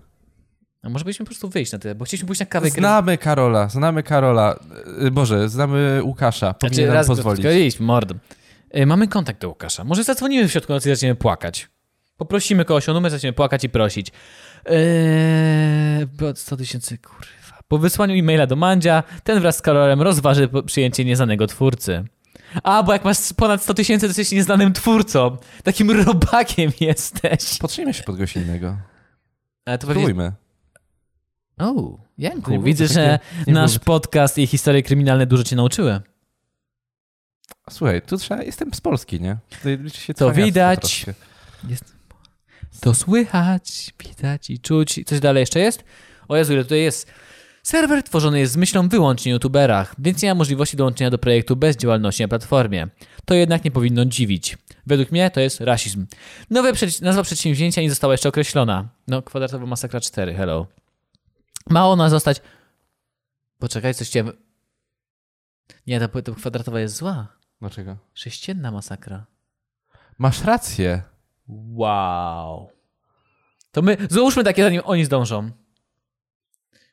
S2: A może byśmy po prostu wyjść na tyle, bo chcieliśmy pójść na kawę.
S1: Znamy Karola, znamy Karola. Yy, Boże, znamy Łukasza.
S2: Znaczy,
S1: Powinien nam
S2: raz
S1: pozwolić.
S2: Iść, mord. E, mamy kontakt do Łukasza. Może zadzwonimy w środku nocy i zaczniemy płakać. Poprosimy kogoś o numer, zaczniemy płakać i prosić. Eee, bo 100 tysięcy, kurwa. Po wysłaniu e-maila do Mandzia, ten wraz z Karolem rozważy po- przyjęcie nieznanego twórcy. A, bo jak masz ponad 100 tysięcy, to jesteś nieznanym twórcą. Takim <laughs> robakiem jesteś.
S1: Potrzyjmy się pod kogoś innego.
S2: Ale to pewnie...
S1: Spróbujmy.
S2: O, Janku,
S1: Nie było
S2: widzę,
S1: to
S2: że
S1: takie- nie
S2: nasz
S1: było-
S2: podcast i historie kryminalne dużo cię nauczyły.
S1: Słuchaj, tu trzeba... Jestem z Polski, nie? Tutaj liczy się
S2: To
S1: cwaniactwo
S2: widać.
S1: troszkę.
S2: To słychać, widać i czuć. Coś dalej jeszcze jest? O Jezu, ile tutaj jest. Serwer tworzony jest z myślą wyłącznie o youtuberach, więc nie ma możliwości dołączenia do projektu bez działalności na platformie. To jednak nie powinno dziwić. Według mnie to jest rasizm. Nowe przed... nazwa przedsięwzięcia nie została jeszcze określona. No, kwadratowa masakra 4, hello. Ma ona zostać... Poczekaj, coś chciałem... Nie, ta, ta kwadratowa jest zła.
S1: Dlaczego?
S2: Sześcienna masakra.
S1: No Masz rację.
S2: Wow. To my załóżmy takie, zanim oni zdążą.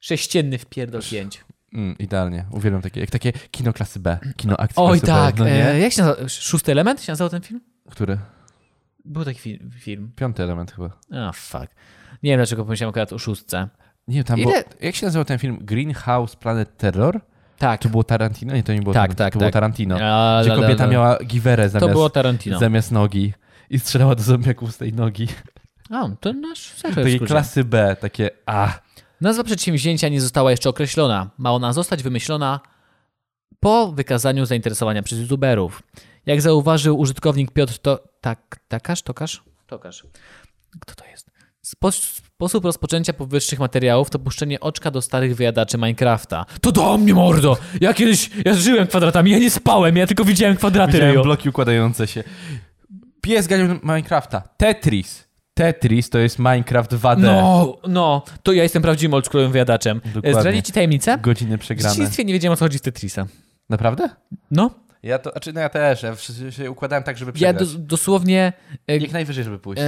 S2: Sześcienny wpierdol pięć.
S1: Mm, idealnie. Uwielbiam takie, jak takie kino klasy B. Kino akcji
S2: Oj
S1: klasy
S2: tak,
S1: B. No nie?
S2: e, jak się nazywa? Szósty element się nazywał ten film?
S1: Który?
S2: Był taki film. film.
S1: Piąty element chyba.
S2: Ah, fuck. Nie wiem, dlaczego pomyślałem akurat o szóstce.
S1: Nie, tam
S2: Ile-
S1: było, Jak się nazywał ten film? Greenhouse Planet Terror?
S2: Tak.
S1: To było Tarantino? Nie, to nie było
S2: Tak,
S1: Tarantino.
S2: tak,
S1: To było
S2: tak.
S1: Tarantino.
S2: A,
S1: Gdzie
S2: la, la,
S1: kobieta
S2: la.
S1: miała giwerę zamiast,
S2: To było Tarantino.
S1: zamiast nogi i strzelała do zombiaków z tej nogi.
S2: A, to nasz serwer
S1: Takiej
S2: w skrócie.
S1: klasy B, takie A.
S2: Nazwa przedsięwzięcia nie została jeszcze określona. Ma ona zostać wymyślona po wykazaniu zainteresowania przez youtuberów. Jak zauważył użytkownik Piotr to... Tak, takaż, tokaż? Tokaż. Kto to jest? Spo, sposób rozpoczęcia powyższych materiałów to puszczenie oczka do starych wyjadaczy Minecrafta. To do mnie, mordo! Ja kiedyś, ja żyłem kwadratami, ja nie spałem, ja tylko widziałem kwadraty,
S1: Widziałem
S2: ryjo.
S1: bloki układające się. Pies ganiał Minecrafta. Tetris. Tetris to jest Minecraft 2D.
S2: No, no, to ja jestem prawdziwym oldschoolowym wyjadaczem.
S1: Dokładnie.
S2: Zdradzić ci tajemnicę?
S1: Godziny
S2: W
S1: przegrane.
S2: dzieciństwie nie wiedziałem, o co chodzi z Tetrisa.
S1: Naprawdę?
S2: No,
S1: Ja to, znaczy no ja też, ja wszy- się układałem tak, żeby
S2: ja
S1: przegrać.
S2: do, dosłownie... e,
S1: Jak najwyżej, żeby pójść.
S2: E,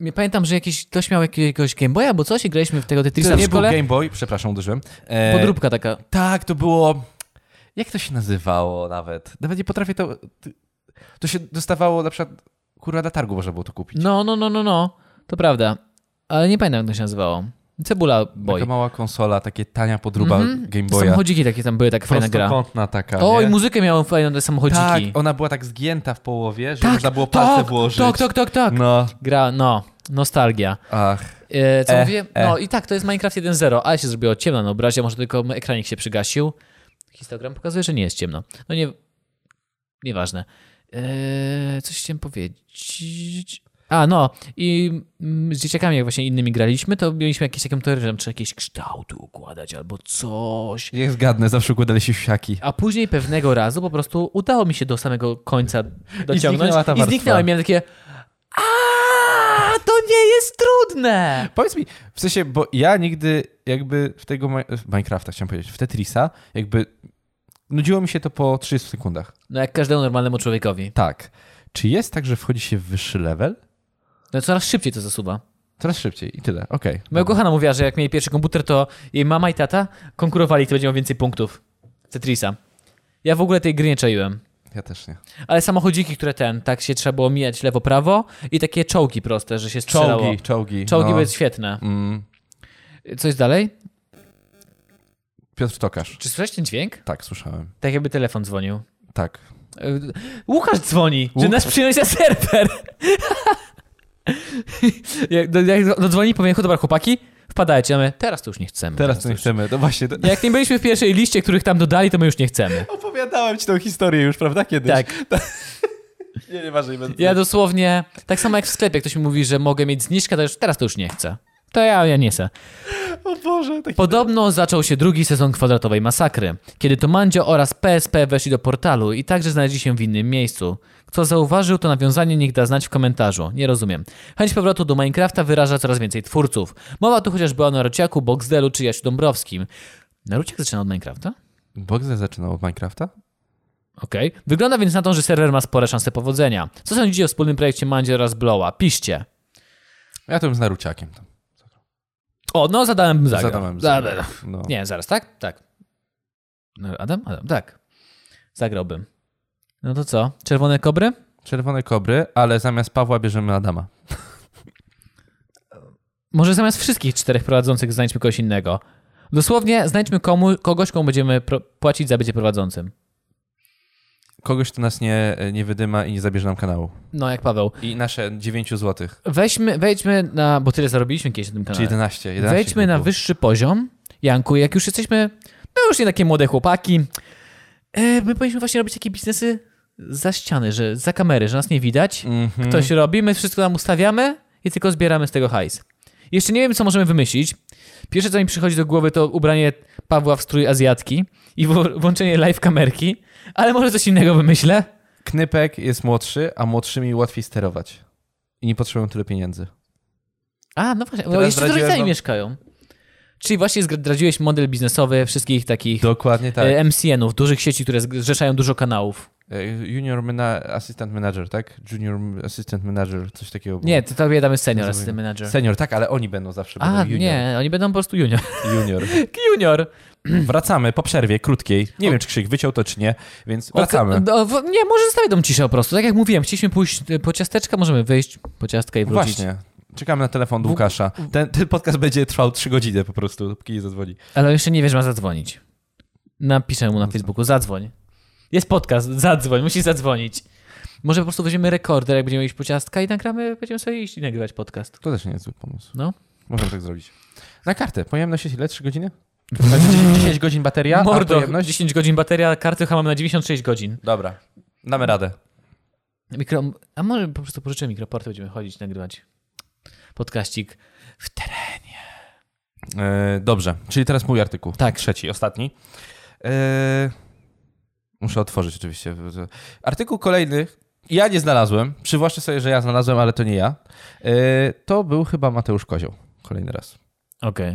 S2: nie pamiętam, że jakiś ktoś miał jakiegoś Game Boya, bo coś i graliśmy w tego Tetrisa
S1: to
S2: w
S1: nie był
S2: szkole.
S1: Game Boy, przepraszam, uderzyłem. E,
S2: Podróbka taka.
S1: Tak, to było. Jak to się nazywało nawet? Nawet nie potrafię to. To się dostawało na przykład. Kurwa, na targu można było to kupić.
S2: No, no, no, no, no. To prawda. Ale nie pamiętam, jak to się nazywało. Cebula Boy. Mhm.
S1: Taka mała konsola, takie tania podruba Game Boya.
S2: Samochodziki takie tam były, tak fajna gra.
S1: Prostokątna taka,
S2: O,
S1: nie?
S2: i muzykę miałem fajną, te
S1: Tak,
S2: samochodziki.
S1: ona była tak zgięta w połowie, że
S2: Tak,
S1: można było palce
S2: tak,
S1: włożyć.
S2: Tak, tak, tak, tak.
S1: No,
S2: Gra, no, nostalgia.
S1: ach.
S2: E, co
S1: E,
S2: mówię? No i tak, to jest Minecraft 1.0, ale się zrobiło ciemno na obrazie, może tylko ekranik się przygasił. Histogram pokazuje, że nie jest ciemno. No nie... Nieważne. E, coś chciałem powiedzieć... A, no i mm, z dzieciakami, jak właśnie innymi graliśmy, to mieliśmy jakieś taką teorię, że tam trzeba jakieś kształty układać albo coś.
S1: Niech zgadnę, zawsze układali się wsiaki.
S2: A później pewnego razu po prostu udało mi się do samego końca dociągnąć.
S1: zniknęła ta
S2: I zniknęła.
S1: warstwa.
S2: I miałem takie... A, to nie jest trudne!
S1: Powiedz mi, w sensie, bo ja nigdy jakby w tego Mi- w Minecrafta, chciałem powiedzieć, w Tetrisa, jakby nudziło mi się to po 30 sekundach.
S2: No jak każdemu normalnemu człowiekowi.
S1: Tak. Czy jest tak, że wchodzi się w wyższy level?
S2: No coraz szybciej to zasuwa.
S1: Coraz szybciej i tyle, okej.
S2: Moja kochana mówiła, że jak mieli pierwszy komputer, to jej mama i tata konkurowali, kto będzie miał więcej punktów. Tetrisa. Ja w ogóle tej gry nie czaiłem.
S1: Ja też nie.
S2: Ale samochodziki, które ten, tak się trzeba było mijać lewo-prawo i takie czołgi proste, że się strzelało.
S1: Czołgi, czołgi.
S2: Czołgi
S1: no.
S2: były świetne.
S1: Mm,
S2: Coś dalej?
S1: Piotr Tokarz.
S2: Czy słyszałeś ten dźwięk?
S1: Tak, słyszałem.
S2: Tak jakby telefon dzwonił.
S1: Tak.
S2: Y, Łukasz dzwoni, że
S1: Łuk-
S2: nasz przynosi na serwer. <laughs> jak, do, jak do dzwoni, powiem, dobra, chłopaki, wpadajcie. A my, teraz to już nie chcemy.
S1: Teraz to nie
S2: już
S1: chcemy. No właśnie, to...
S2: Jak nie byliśmy w pierwszej liście, których tam dodali, to my już nie chcemy.
S1: opowiadałem ci tą historię już, prawda, kiedyś?
S2: Tak.
S1: <laughs> Nie, nie ważne. Będę...
S2: Ja dosłownie, tak samo jak w sklepie, ktoś mi mówi, że mogę mieć zniżkę, to już teraz to już nie chcę. To ja, ja nie chcę.
S1: O Boże, taki...
S2: Podobno zaczął się drugi sezon kwadratowej masakry, kiedy to Mandzio oraz PSP weszli do portalu i także znaleźli się w innym miejscu. Kto zauważył to nawiązanie, niech da znać w komentarzu. Nie rozumiem. Chęć powrotu do Minecrafta wyraża coraz więcej twórców. Mowa tu chociaż była o Narociaku, Boxdelu czy Jasiu Dąbrowskim. Naruciak zaczyna od Minecrafta?
S1: Boxer zaczynał od Minecrafta?
S2: Okej. Wygląda więc na to, że serwer ma spore szanse powodzenia. Co sądzicie o wspólnym projekcie Mandzie oraz Blowa? Piszcie.
S1: Ja to bym z Naruciakiem tam.
S2: O, no zadałem zagra.
S1: Zadałem
S2: Zagra.
S1: zagra. No.
S2: Nie, zaraz, tak? Tak. No, Adam? Adam, tak. Zagrałbym. No to co? Czerwone kobry?
S1: Czerwone kobry, ale zamiast Pawła bierzemy Adama.
S2: Może zamiast wszystkich czterech prowadzących znajdźmy kogoś innego. Dosłownie znajdźmy komu, kogoś, komu będziemy pro- płacić za bycie prowadzącym.
S1: Kogoś, kto nas nie, nie wydyma i nie zabierze nam kanału.
S2: No, jak Paweł.
S1: I nasze 9 złotych.
S2: Weźmy, wejdźmy na... Bo tyle zarobiliśmy kiedyś na tym
S1: Czy
S2: kanale.
S1: 11. 11
S2: Wejdźmy na
S1: było.
S2: wyższy poziom. Janku, jak już jesteśmy, no już nie takie młode chłopaki, e, my powinniśmy właśnie robić takie biznesy za ściany, że za kamery, że nas nie widać.
S1: Mhm.
S2: Ktoś robi, my wszystko tam ustawiamy i tylko zbieramy z tego hajs. Jeszcze nie wiem, co możemy wymyślić. Pierwsze, co mi przychodzi do głowy, to ubranie Pawła w strój azjatki i wo- włączenie live kamerki, ale może coś innego wymyślę.
S1: Knypek jest młodszy, a młodszymi łatwiej sterować. I nie potrzebują tyle pieniędzy.
S2: A, no właśnie, bo
S1: Teraz
S2: jeszcze z
S1: zdradziłem
S2: rodzicami
S1: wam-
S2: mieszkają. Czyli właśnie zdradziłeś model biznesowy wszystkich takich
S1: Dokładnie tak.
S2: tak. MCN-ów, dużych sieci, które zrzeszają dużo kanałów.
S1: E, Junior mena- assistant manager, tak? Junior m- assistant manager, coś takiego. było.
S2: Nie, to tobie damy senior
S1: Nie
S2: assistant manager.
S1: Senior, tak, ale oni będą zawsze.
S2: A,
S1: będą junior.
S2: nie, oni będą po prostu junior. <laughs> <clears throat>
S1: Junior.
S2: junior!
S1: Wracamy po przerwie krótkiej. Nie wiem, czy Krzyk wyciął to, czy nie, więc wracamy.
S2: No, w- nie, może zostawię tą ciszę po prostu. Tak jak mówiłem, chcieliśmy pójść y, po ciasteczka, możemy wyjść po ciastka i wrócić.
S1: Właśnie. Czekamy na telefon do Łukasza. Ten, ten podcast będzie trwał 3 godziny po prostu, dopóki nie zadzwoni.
S2: Ale jeszcze nie wiesz, ma zadzwonić. Napiszę
S1: No
S2: mu na Facebooku, zadzwoń. Jest podcast, zadzwoń, musi zadzwonić. Może po prostu weźmiemy rekorder, jak będziemy iść po ciastka i nagramy, będziemy sobie iść i nagrywać podcast.
S1: To też nie jest zły pomysł.
S2: No.
S1: Możemy tak zrobić. Na kartę. Pojemność jest ile? 3
S2: <laughs>
S1: godziny? Tak, 10, 10 godzin bateria, a
S2: Mordo,
S1: pojemność?
S2: 10 godzin bateria, karty chyba mamy na 96 godzin.
S1: Dobra. Damy radę.
S2: Mikro... A może po prostu pożyczę mikroporty, będziemy chodzić, nagrywać podkaścik w terenie.
S1: E, dobrze. Czyli teraz mój artykuł.
S2: Tak.
S1: Trzeci, ostatni. E, muszę otworzyć oczywiście. Artykuł kolejny. Ja nie znalazłem. Przywłaszczę sobie, że ja znalazłem, ale to nie ja. E, to był chyba Mateusz Kozioł. Kolejny raz.
S2: Okej.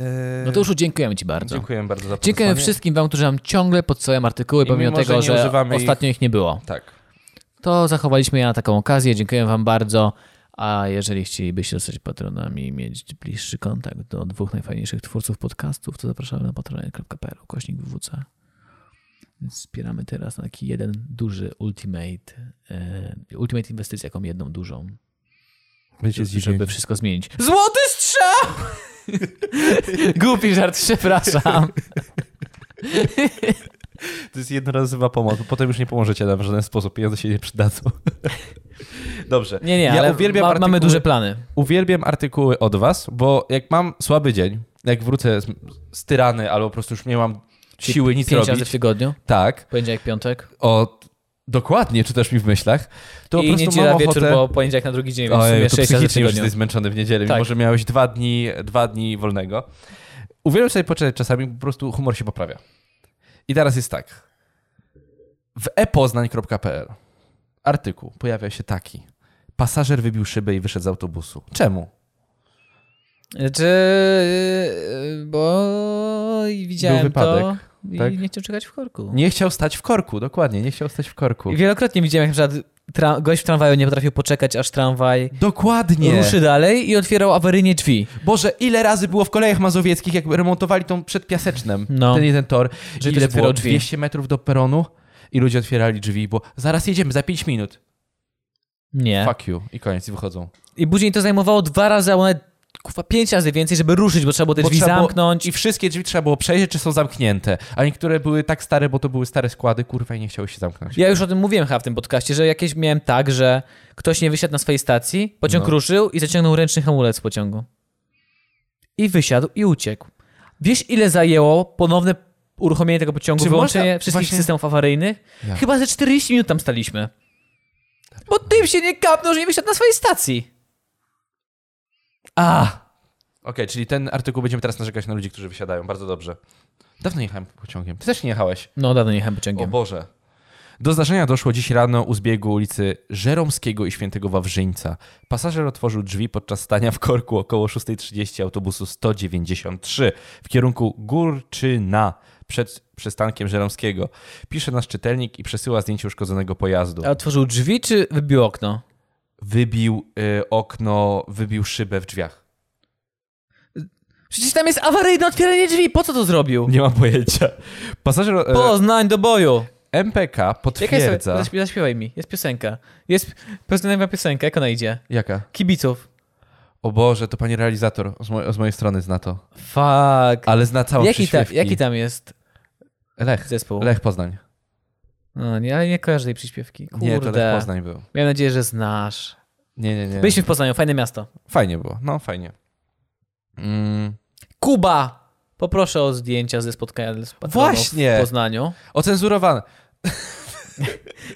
S1: E,
S2: No to już dziękujemy Ci bardzo.
S1: Dziękujemy bardzo za
S2: Dziękujemy
S1: podesłanie.
S2: wszystkim Wam, którzy nam ciągle podsyłają artykuły,
S1: I
S2: pomimo
S1: mimo, że
S2: tego,
S1: nie
S2: że,
S1: używamy ich-
S2: ostatnio ich... nie było.
S1: Tak.
S2: To zachowaliśmy je na taką okazję. Dziękujemy Wam bardzo. A jeżeli chcielibyście zostać patronami i mieć bliższy kontakt do dwóch najfajniejszych twórców podcastów, to zapraszamy na patronite.pl kośnik WWC. Wspieramy teraz taki jeden duży ultimate, e, ultimate inwestycję, jaką jedną dużą.
S1: Wiecie,
S2: żeby wszystko zmienić. Złoty
S1: <laughs>
S2: strzał! przepraszam! Głupi żart, przepraszam.
S1: To jest jednorazowa pomoc, bo potem już nie pomożecie nam w żaden sposób, pieniądze się nie przydadzą. <laughs> Dobrze.
S2: Nie, nie,
S1: ja
S2: ale
S1: uwielbiam
S2: ma,
S1: artykuły,
S2: mamy duże plany.
S1: uwielbiam artykuły od was, bo jak mam słaby dzień, jak wrócę z, z tyrany albo po prostu już nie mam
S2: Czyli
S1: siły nic
S2: Pięć razy
S1: robić,
S2: w tygodniu,
S1: tak,
S2: poniedziałek, piątek.
S1: o, dokładnie czytasz mi w myślach, to
S2: I
S1: po prostu
S2: niedziela
S1: mam
S2: wieczór,
S1: ochotę...
S2: bo poniedziałek na drugi dzień, więc w
S1: Ojej,
S2: sumie
S1: to
S2: sześć razy w
S1: psychicznie już
S2: tygodniu.
S1: jesteś zmęczony w niedzielę,
S2: Tak.
S1: mimo że miałeś dwa dni, dwa dni wolnego. Uwielbiam sobie poczytać czasami, po prostu humor się poprawia. I teraz jest tak. W epoznań.pl artykuł pojawia się taki. Pasażer wybił szybę i wyszedł z autobusu. Czemu?
S2: Czy... yy, Znaczy, bo i widziałem to
S1: wypadek,
S2: i
S1: tak?
S2: nie chciał czekać w korku.
S1: Nie chciał stać w korku, dokładnie, nie chciał stać w korku.
S2: I Wielokrotnie widziałem, jak na przykład tra- gość w tramwaju nie potrafił poczekać, aż tramwaj
S1: Dokładnie.
S2: ruszy dalej i otwierał awaryjnie drzwi.
S1: Boże, ile razy było w kolejach mazowieckich, jak remontowali tą przed Piasecznem,
S2: No.
S1: ten jeden tor.
S2: Że ktoś
S1: ile
S2: otwierał
S1: było?
S2: drzwi.
S1: 200 metrów do peronu i ludzie otwierali drzwi, bo zaraz jedziemy, za 5 minut.
S2: Nie.
S1: Fuck you. I koniec, i wychodzą.
S2: I później to zajmowało dwa razy, a one kurwa, pięć razy więcej, żeby ruszyć, bo trzeba było te
S1: Bo
S2: drzwi
S1: trzeba było-
S2: zamknąć.
S1: I wszystkie drzwi trzeba było przejrzeć, czy są zamknięte. A niektóre były tak stare, bo to były stare składy, kurwa, i nie chciały się zamknąć.
S2: Ja już o tym mówiłem chyba w tym podcaście, że jakieś miałem tak, że ktoś nie wysiadł na swojej stacji, pociąg
S1: No.
S2: ruszył i zaciągnął ręczny hamulec z pociągu. I wysiadł i uciekł. Wiesz, ile zajęło ponowne uruchomienie tego pociągu,
S1: Czy
S2: wyłączenie
S1: można-
S2: wszystkich
S1: właśnie-
S2: systemów awaryjnych?
S1: Ja.
S2: Chyba ze 40 minut tam staliśmy. Bo tym się nie kapnął, że nie wysiadł na swojej stacji.
S1: A! Okej, czyli ten artykuł będziemy teraz narzekać na ludzi, którzy wysiadają. Bardzo dobrze. Dawno jechałem pociągiem. Ty też nie jechałeś.
S2: No, dawno nie jechałem
S1: O
S2: pociągiem.
S1: Boże. Do zdarzenia doszło dziś rano u zbiegu ulicy Żeromskiego i Świętego Wawrzyńca. Pasażer otworzył drzwi podczas stania w korku około 6.30 autobusu 193 w kierunku Górczyna przed przystankiem Żeromskiego. Pisze nasz czytelnik i przesyła zdjęcie uszkodzonego pojazdu.
S2: A otworzył drzwi czy wybił okno?
S1: Wybił y, okno, wybił szybę w drzwiach.
S2: Przecież tam jest awaryjne otwieranie drzwi, po co to zrobił?
S1: Nie mam pojęcia. Pasażer e,
S2: Poznań do boju.
S1: MPK
S2: Jaka jest,
S1: potwierdza...
S2: zaśp- zaśpiewaj mi, jest piosenka. Jest poznajmy piosenka, jak ona idzie?
S1: Jaka?
S2: Kibiców.
S1: O Boże, to pani realizator z, moj- z mojej strony zna to.
S2: Fuck.
S1: Ale zna całą
S2: Jaki, ta,
S1: przyśpiewki.
S2: jaki tam jest
S1: Lech.
S2: zespół?
S1: Lech Poznań.
S2: No, nie, ale nie kojarzę tej przyśpiewki. Kurde.
S1: Nie, to Lech Poznań był.
S2: Miałem nadzieję, że znasz.
S1: Nie, nie, nie.
S2: Byliśmy w Poznaniu, fajne miasto.
S1: Fajnie było, no fajnie. Mm.
S2: Kuba! Poproszę o zdjęcia ze spotkania z patroną
S1: Właśnie!
S2: w Poznaniu,
S1: Ocenzurowane.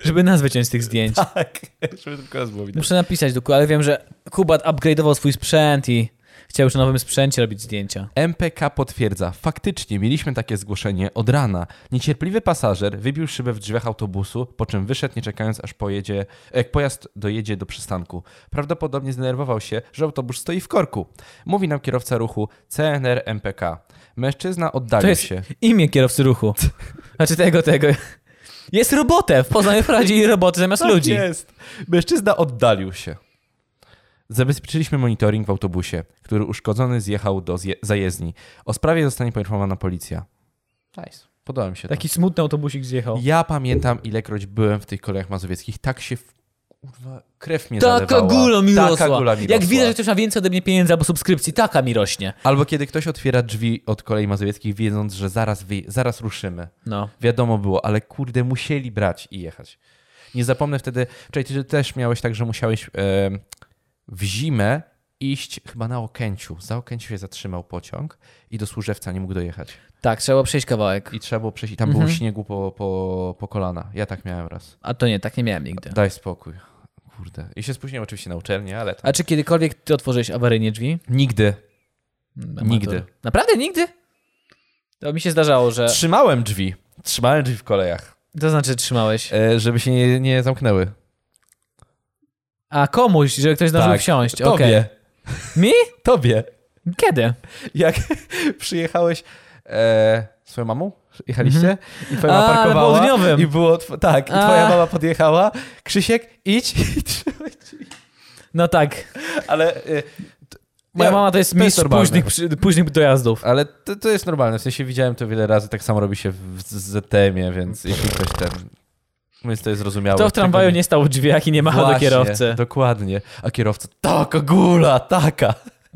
S2: żeby nas wyciąć z tych zdjęć.
S1: Tak, <laughs> żeby tylko raz było widać.
S2: Muszę napisać do Kuba, ale wiem, że Kuba upgrade'ował swój sprzęt i chciał już na nowym sprzęcie robić zdjęcia.
S1: MPK potwierdza. Faktycznie mieliśmy takie zgłoszenie od rana. Niecierpliwy pasażer wybił szybę w drzwiach autobusu, po czym wyszedł nie czekając aż pojedzie, jak pojazd dojedzie do przystanku. Prawdopodobnie zdenerwował się, że autobus stoi w korku. Mówi nam kierowca ruchu CNR MPK. Mężczyzna
S2: To
S1: oddalił
S2: jest
S1: się.
S2: imię
S1: <laughs>
S2: kierowcy ruchu. Znaczy tego, tego. Jest robotę. W Poznaniu wprowadzili roboty zamiast
S1: Tak
S2: ludzi.
S1: jest. Mężczyzna oddalił się. Zabezpieczyliśmy monitoring w autobusie, który uszkodzony zjechał do zje- zajezdni. O sprawie zostanie poinformowana policja. Nice. Podoba mi się
S2: Taki smutny autobusik zjechał.
S1: to. Ja pamiętam, ilekroć byłem w tych kolejach mazowieckich, tak się... W... Kurwa, krew mnie
S2: Taka
S1: zalewała.
S2: gula mi rosła.
S1: Taka gula mi
S2: Jak
S1: rosła.
S2: widzę, że ktoś ma więcej ode mnie pieniędzy albo subskrypcji, taka mi rośnie.
S1: Albo kiedy ktoś otwiera drzwi od kolei mazowieckich, wiedząc, że zaraz, wy... zaraz ruszymy.
S2: No.
S1: Wiadomo było, ale kurde, musieli brać i jechać. Nie zapomnę wtedy, wczoraj ty też miałeś tak, że musiałeś e, w zimę iść chyba na Okęciu. Za Okęciu się zatrzymał pociąg i do Służewca nie mógł dojechać.
S2: Tak, trzeba było przejść kawałek.
S1: I trzeba było przejść i tam
S2: Mhm.
S1: było śniegu po, po, po kolana. Ja tak miałem raz.
S2: A to nie, tak nie miałem nigdy.
S1: Daj spokój. Kurde. I się spóźniłem oczywiście na uczelnię, ale tam...
S2: A czy kiedykolwiek ty otworzyłeś awaryjnie drzwi?
S1: Nigdy.
S2: Amator.
S1: Nigdy.
S2: Naprawdę nigdy? To mi się zdarzało, że...
S1: Trzymałem drzwi. Trzymałem drzwi w kolejach,
S2: To znaczy trzymałeś.
S1: e, żeby się nie, nie zamknęły.
S2: A komuś, że ktoś zdążył
S1: Tak.
S2: wsiąść. Okej.
S1: Tobie.
S2: Mi?
S1: Tobie.
S2: Kiedy?
S1: jak przyjechałeś e, swoją mamą? Jechaliście? I twoja mama
S2: Mhm. A, na
S1: parkowała.
S2: południowym.
S1: I było, tw- tak, i twoja
S2: A.
S1: mama podjechała. Krzysiek, idź. i trzymaj się.
S2: No tak.
S1: Ale, e, t-
S2: Moja
S1: ja-
S2: mama to jest
S1: to jest
S2: mistrz
S1: normalne.
S2: późnych, przy- późnych dojazdów.
S1: ale to, to jest normalne, w sensie widziałem to wiele razy, tak samo robi się w z- ZTM-ie, więc jeśli ktoś ten... Więc to jest zrozumiałe.
S2: To w tramwaju
S1: Tego
S2: nie stał w drzwiach i nie machał do
S1: Właśnie,
S2: kierowcy. <laughs>
S1: Dokładnie. A kierowca, "Tak, taka gula, taka.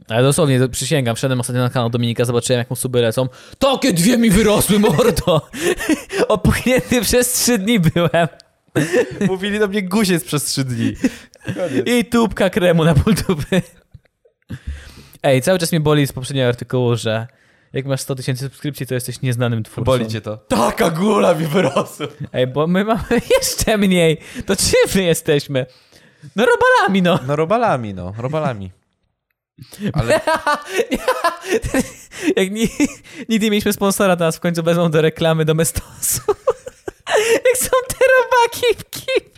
S2: Ale dosłownie, to przysięgam, wszedłem ostatnio na kanał Dominika, zobaczyłem jak mu suby lecą. Takie dwie mi wyrosły, mordo! <laughs> Opuchnięty przez trzy dni byłem.
S1: Mówili do mnie guziec przez trzy dni.
S2: I tubka kremu na półtupy. Ej, cały czas mnie boli z poprzedniego artykułu, że jak masz 100 tysięcy subskrypcji, to jesteś nieznanym twórcą.
S1: Boli cię to.
S2: Tak,
S1: Taka góra mi wyrosła.
S2: Ej, bo my mamy <laughs> jeszcze mniej. To czym my jesteśmy? No robalami, no.
S1: No robalami, no. Robalami. Ale
S2: <laughs> Jak ni- nigdy nie mieliśmy sponsora, teraz w końcu wezmą do reklamy do Mestosu. <laughs> Jak są te robaki w kiblu.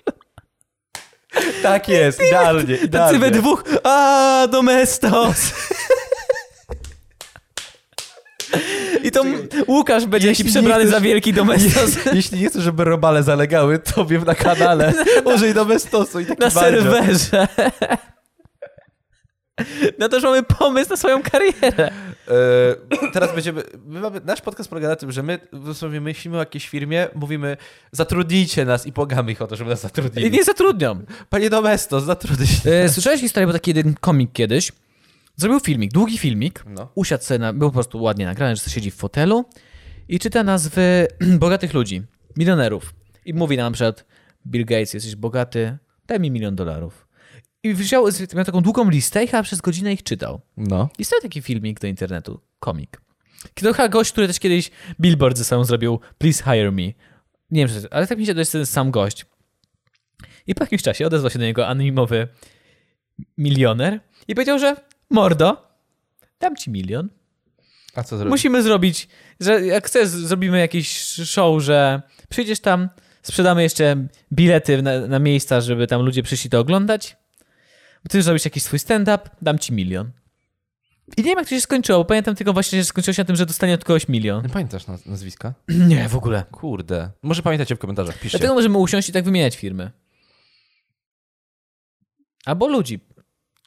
S1: tak jest, idealnie,
S2: Tacy we
S1: idealnie.
S2: dwóch. A do Mestos. <laughs> I to m- Łukasz będzie
S1: Jeśli
S2: jakiś przebrany
S1: nie chcesz-
S2: za wielki domestos
S1: <laughs> Jeśli nie chcesz, żeby robale zalegały tobie na
S2: <laughs>
S1: kanale, użyj domestosu i taki
S2: na
S1: banjo.
S2: serwerze. <laughs> No to już mamy pomysł na swoją karierę.
S1: E, teraz będziemy. My mamy, nasz podcast polega na tym, że my sobie myślimy o jakiejś firmie, mówimy, zatrudnijcie nas i pogamy ich o to, żeby nas
S2: I
S1: zatrudnili.
S2: nie zatrudnią.
S1: Panie Domestos, zatrudnij się.
S2: E, Słyszałeś historię, bo taki jeden komik kiedyś zrobił filmik, długi filmik.
S1: No.
S2: Usiadł sobie, na, był po prostu ładnie nagrany, że siedzi w fotelu i czyta nazwy <clears throat> bogatych ludzi, milionerów. I mówi nam, że Bill Gates, jesteś bogaty, daj mi milion dolarów. I wziął, miał taką długą listę i chyba przez godzinę ich czytał.
S1: No.
S2: I stał taki filmik do internetu, komik. To chyba gość, który też kiedyś billboard ze sobą zrobił, please hire me. Nie wiem, czy ale tak mi się dość ten sam gość. I po jakimś czasie odezwał się do niego anonimowy milioner i powiedział, że mordo, dam ci milion.
S1: A co zrobić?
S2: Musimy zrobić, że jak chcesz, zrobimy jakiś show, że przyjdziesz tam, sprzedamy jeszcze bilety na, na miejsca, żeby tam ludzie przyszli to oglądać. Ty zrobisz jakiś swój stand-up, dam ci milion. I nie wiem, jak to się skończyło, bo pamiętam tylko właśnie, że skończyło się na tym, że dostanie od kogoś milion.
S1: Nie pamiętasz naz- nazwiska?
S2: <clears throat> Nie, w ogóle.
S1: Kurde. Może pamiętacie w komentarzach, piszcie.
S2: Dlatego możemy usiąść i tak wymieniać firmy. Albo ludzi.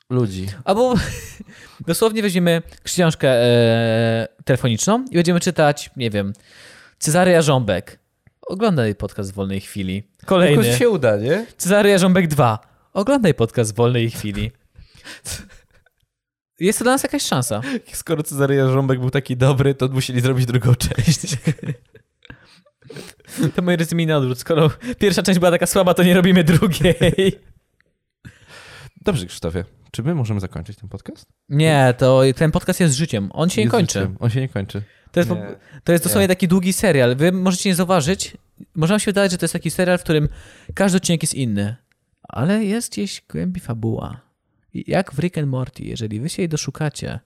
S1: Ludzi.
S2: Albo <laughs> dosłownie weźmiemy książkę e, telefoniczną i będziemy czytać, nie wiem, Cezary Jarząbek. Oglądaj podcast w wolnej chwili. Kolejny.
S1: Jakoś się uda, nie?
S2: Cezary Jarząbek 2. Oglądaj podcast w wolnej chwili. Jest to dla nas jakaś szansa.
S1: Skoro Cezary Jarząbek był taki dobry, to musieli zrobić drugą część.
S2: <laughs> To moje resume na odwrót. Skoro pierwsza część była taka słaba, to nie robimy
S1: <laughs>
S2: drugiej.
S1: Dobrze, Krzysztofie. Czy my możemy zakończyć ten podcast?
S2: Nie, to ten podcast jest życiem. On się nie
S1: Jest
S2: kończy.
S1: życiem. On się nie kończy.
S2: To jest, po-
S1: Nie,
S2: to jest dosłownie
S1: nie.
S2: taki długi serial. Wy możecie nie zauważyć. Może wam się wydawać, że to jest taki serial, w którym każdy odcinek jest inny, ale jest gdzieś głębi fabuła. I Jak w Rick and Morty, jeżeli wy się jej doszukacie,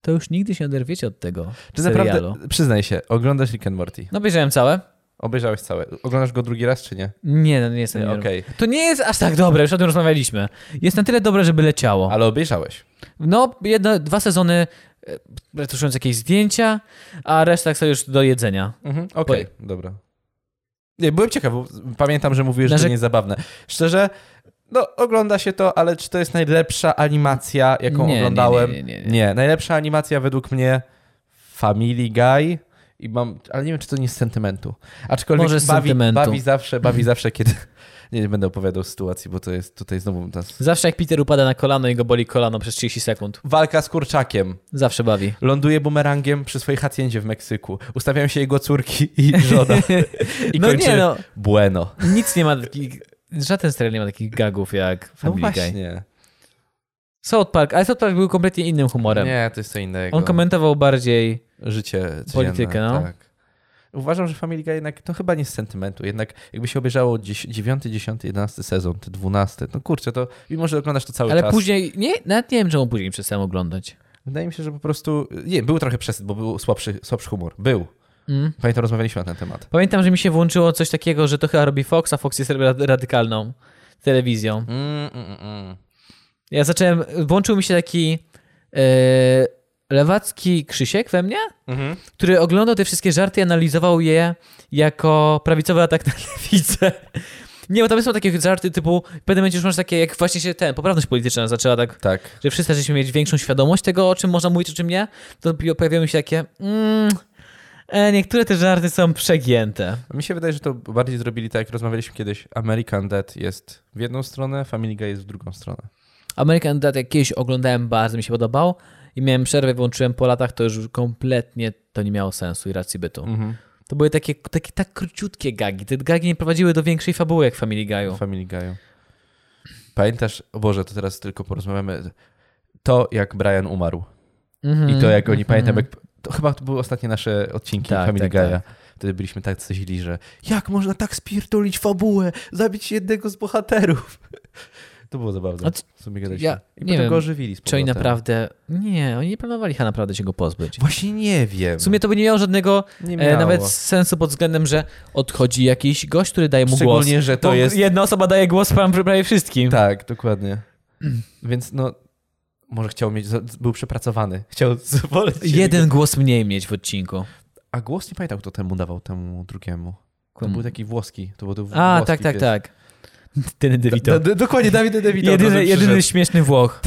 S2: to już nigdy się nie oderwiecie od tego
S1: Czy
S2: serialu.
S1: naprawdę, przyznaj się, oglądasz Rick and Morty?
S2: No obejrzałem całe.
S1: Obejrzałeś całe. Oglądasz go drugi raz, czy nie?
S2: Nie, no nie jestem.
S1: Nie,
S2: Nie,
S1: okej.
S2: To nie jest aż tak dobre, już o tym rozmawialiśmy. Jest na tyle dobre, żeby leciało.
S1: Ale obejrzałeś.
S2: No, jedno, dwa sezony e, retuszując jakieś zdjęcia, a reszta tak sobie już do jedzenia.
S1: Mhm, Okej, dobra. Nie, byłem ciekaw, bo pamiętam, że mówiłeś, że
S2: Narzek-
S1: to nie jest zabawne. Szczerze, no ogląda się to, ale czy to jest najlepsza animacja, jaką
S2: Nie, nie,
S1: oglądałem?
S2: nie, nie, nie, nie.
S1: najlepsza animacja według mnie Family Guy. I mam, ale nie wiem, czy to nie z sentymentu. Aczkolwiek
S2: Może z
S1: bawi,
S2: sentymentu.
S1: bawi zawsze, bawi zawsze, kiedy... <laughs> Nie, nie będę opowiadał sytuacji, bo to jest tutaj znowu ta
S2: Zawsze jak Peter upada na kolano i go boli kolano przez 30 sekund.
S1: walka z kurczakiem.
S2: Zawsze bawi.
S1: Ląduje bumerangiem przy swojej haciendzie w Meksyku. Ustawiają się jego córki i
S2: <laughs>
S1: żona. I
S2: No
S1: kończy
S2: nie no,
S1: bueno.
S2: nic nie ma takich... Żaden serial nie ma takich gagów jak Family
S1: no
S2: Guy.
S1: właśnie.
S2: South Park, ale South Park był kompletnie innym humorem.
S1: Nie, to jest co innego.
S2: On komentował bardziej...
S1: Życie codzienne,
S2: Politykę, no.
S1: Tak. Uważam, że Family Guy jednak, to chyba nie z sentymentu, jednak jakby się obejrzało 9, 10, 11 sezon, te 12, no kurczę, to mimo, że oglądasz to cały
S2: Ale
S1: czas.
S2: później... Nie, nawet nie wiem, czemu później przestałem oglądać.
S1: Wydaje mi się, że po prostu, nie, był trochę przesyt, bo był słabszy, słabszy humor. Był.
S2: Mm.
S1: Pamiętam, rozmawialiśmy na ten temat.
S2: Pamiętam, że mi się włączyło coś takiego, że to chyba robi Fox, a Fox jest rad- radykalną telewizją.
S1: Mm, mm, mm.
S2: Ja zacząłem... Włączył mi się taki... e, lewacki Krzysiek we mnie,
S1: Mhm.
S2: który oglądał te wszystkie żarty i analizował je jako prawicowy atak na lewicę. Nie, bo tam są takie żarty typu, w pewnym momencie już masz takie, jak właśnie się ten, poprawność polityczna zaczęła tak,
S1: Tak.
S2: że wszyscy zaczęliśmy mieć większą świadomość tego, o czym można mówić, o czym nie, to pi- pojawiają się takie, mm, e, niektóre te żarty są przegięte.
S1: Mi się wydaje, że to bardziej zrobili tak, jak rozmawialiśmy kiedyś. American Dead jest w jedną stronę, Family Guy jest w drugą stronę.
S2: American Dad jak kiedyś oglądałem, bardzo mi się podobał i miałem przerwę, włączyłem po latach, to już kompletnie to nie miało sensu i racji bytu.
S1: Mhm.
S2: To były takie, takie tak króciutkie gagi. Te gagi nie prowadziły do większej fabuły jak w Family Guy'u.
S1: Family Guy'u. Pamiętasz, o Boże, to teraz tylko porozmawiamy, to jak Brian umarł
S2: Mhm.
S1: i to jak oni, pamiętam, jak, to chyba to były ostatnie nasze odcinki
S2: Tak,
S1: Family
S2: tak,
S1: Guy'a. Wtedy byliśmy tak źli, że jak można tak spierdolić fabułę, zabić jednego z bohaterów. <laughs> To było zabawne.
S2: A c-
S1: W sumie gadaliśmy.
S2: ja
S1: I
S2: nie
S1: potem
S2: wiem,
S1: go ożywili z
S2: Czy oni
S1: powrotem.
S2: naprawdę... Nie, oni nie planowali chyba naprawdę się go pozbyć.
S1: Właśnie nie wiem.
S2: W sumie to by nie miało żadnego
S1: nie
S2: e, nawet sensu pod względem, że odchodzi jakiś gość, który daje mu głos.
S1: Szczególnie, że to
S2: Bo
S1: jest...
S2: Jedna osoba daje głos pan prawie wszystkim.
S1: Tak, dokładnie.
S2: Mm.
S1: Więc no, może chciał mieć, był przepracowany. Chciał zwolnić. się
S2: Jeden głos mniej mieć w odcinku.
S1: A głos nie pamiętał, kto temu dawał, temu drugiemu. To
S2: Hmm.
S1: był taki włoski. To był to
S2: A,
S1: włoski
S2: tak, tak,
S1: pies.
S2: tak.
S1: <laughs>
S2: Ten
S1: Da,
S2: DeVito.
S1: da, dokładnie, Dawid DeVito. od
S2: Jedyny,
S1: razu
S2: jedyny
S1: przyszedł.
S2: śmieszny Włoch.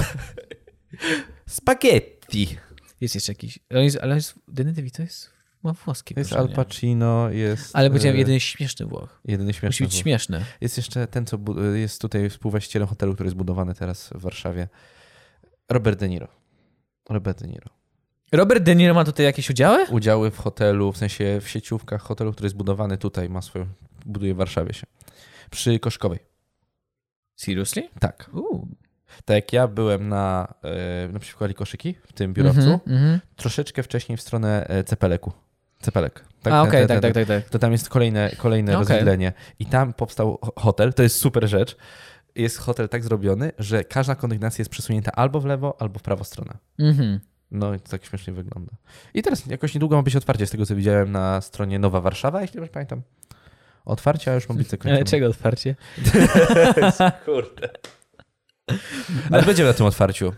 S1: Spaghetti.
S2: <laughs> Jest jeszcze jakiś. Ale, jest, ale jest, Danny DeVito jest, ma włoskie
S1: Jest Al
S2: korzenie.
S1: Pacino, jest...
S2: Ale powiedziałem
S1: e,
S2: jedyny śmieszny Włoch.
S1: Jedyny śmieszny.
S2: Musi być
S1: był.
S2: śmieszny.
S1: Jest jeszcze ten, co bu- e, jest tutaj współwłaścicielem hotelu, który jest budowany teraz w Warszawie. Robert De Niro. Robert De Niro.
S2: Robert De Niro ma tutaj jakieś udziały?
S1: Udziały w hotelu, w sensie w sieciówkach hotelu, który jest budowany tutaj, ma swoją... Buduje w Warszawie się. Przy Koszkowej.
S2: Seriously?
S1: Tak.
S2: Uuu.
S1: Tak jak ja byłem na, e, na przykład koszyki w tym biurowcu,
S2: mhm.
S1: troszeczkę wcześniej w stronę e, Cepeleku. Cepelek.
S2: A,
S1: ten-
S2: okej,
S1: ten- ten-
S2: tak, tak, tak, tak. No,
S1: To tam jest kolejne, kolejne
S2: Okej.
S1: rozwidlenie. I tam powstał ho- hotel, to jest super rzecz. Jest hotel tak zrobiony, że każda kondygnacja jest przesunięta albo w lewo, albo w prawo stronę.
S2: Mhm.
S1: No i to tak śmiesznie wygląda. I teraz jakoś niedługo ma być otwarcie, z tego co widziałem na stronie Nowa Warszawa, jeśli dobrze pamiętam. Otwarcie, a już
S2: <laughs>
S1: ma być
S2: Ale
S1: zakończone.
S2: E, czego otwarcie?
S1: Kurde. Ale będziemy na tym otwarciu.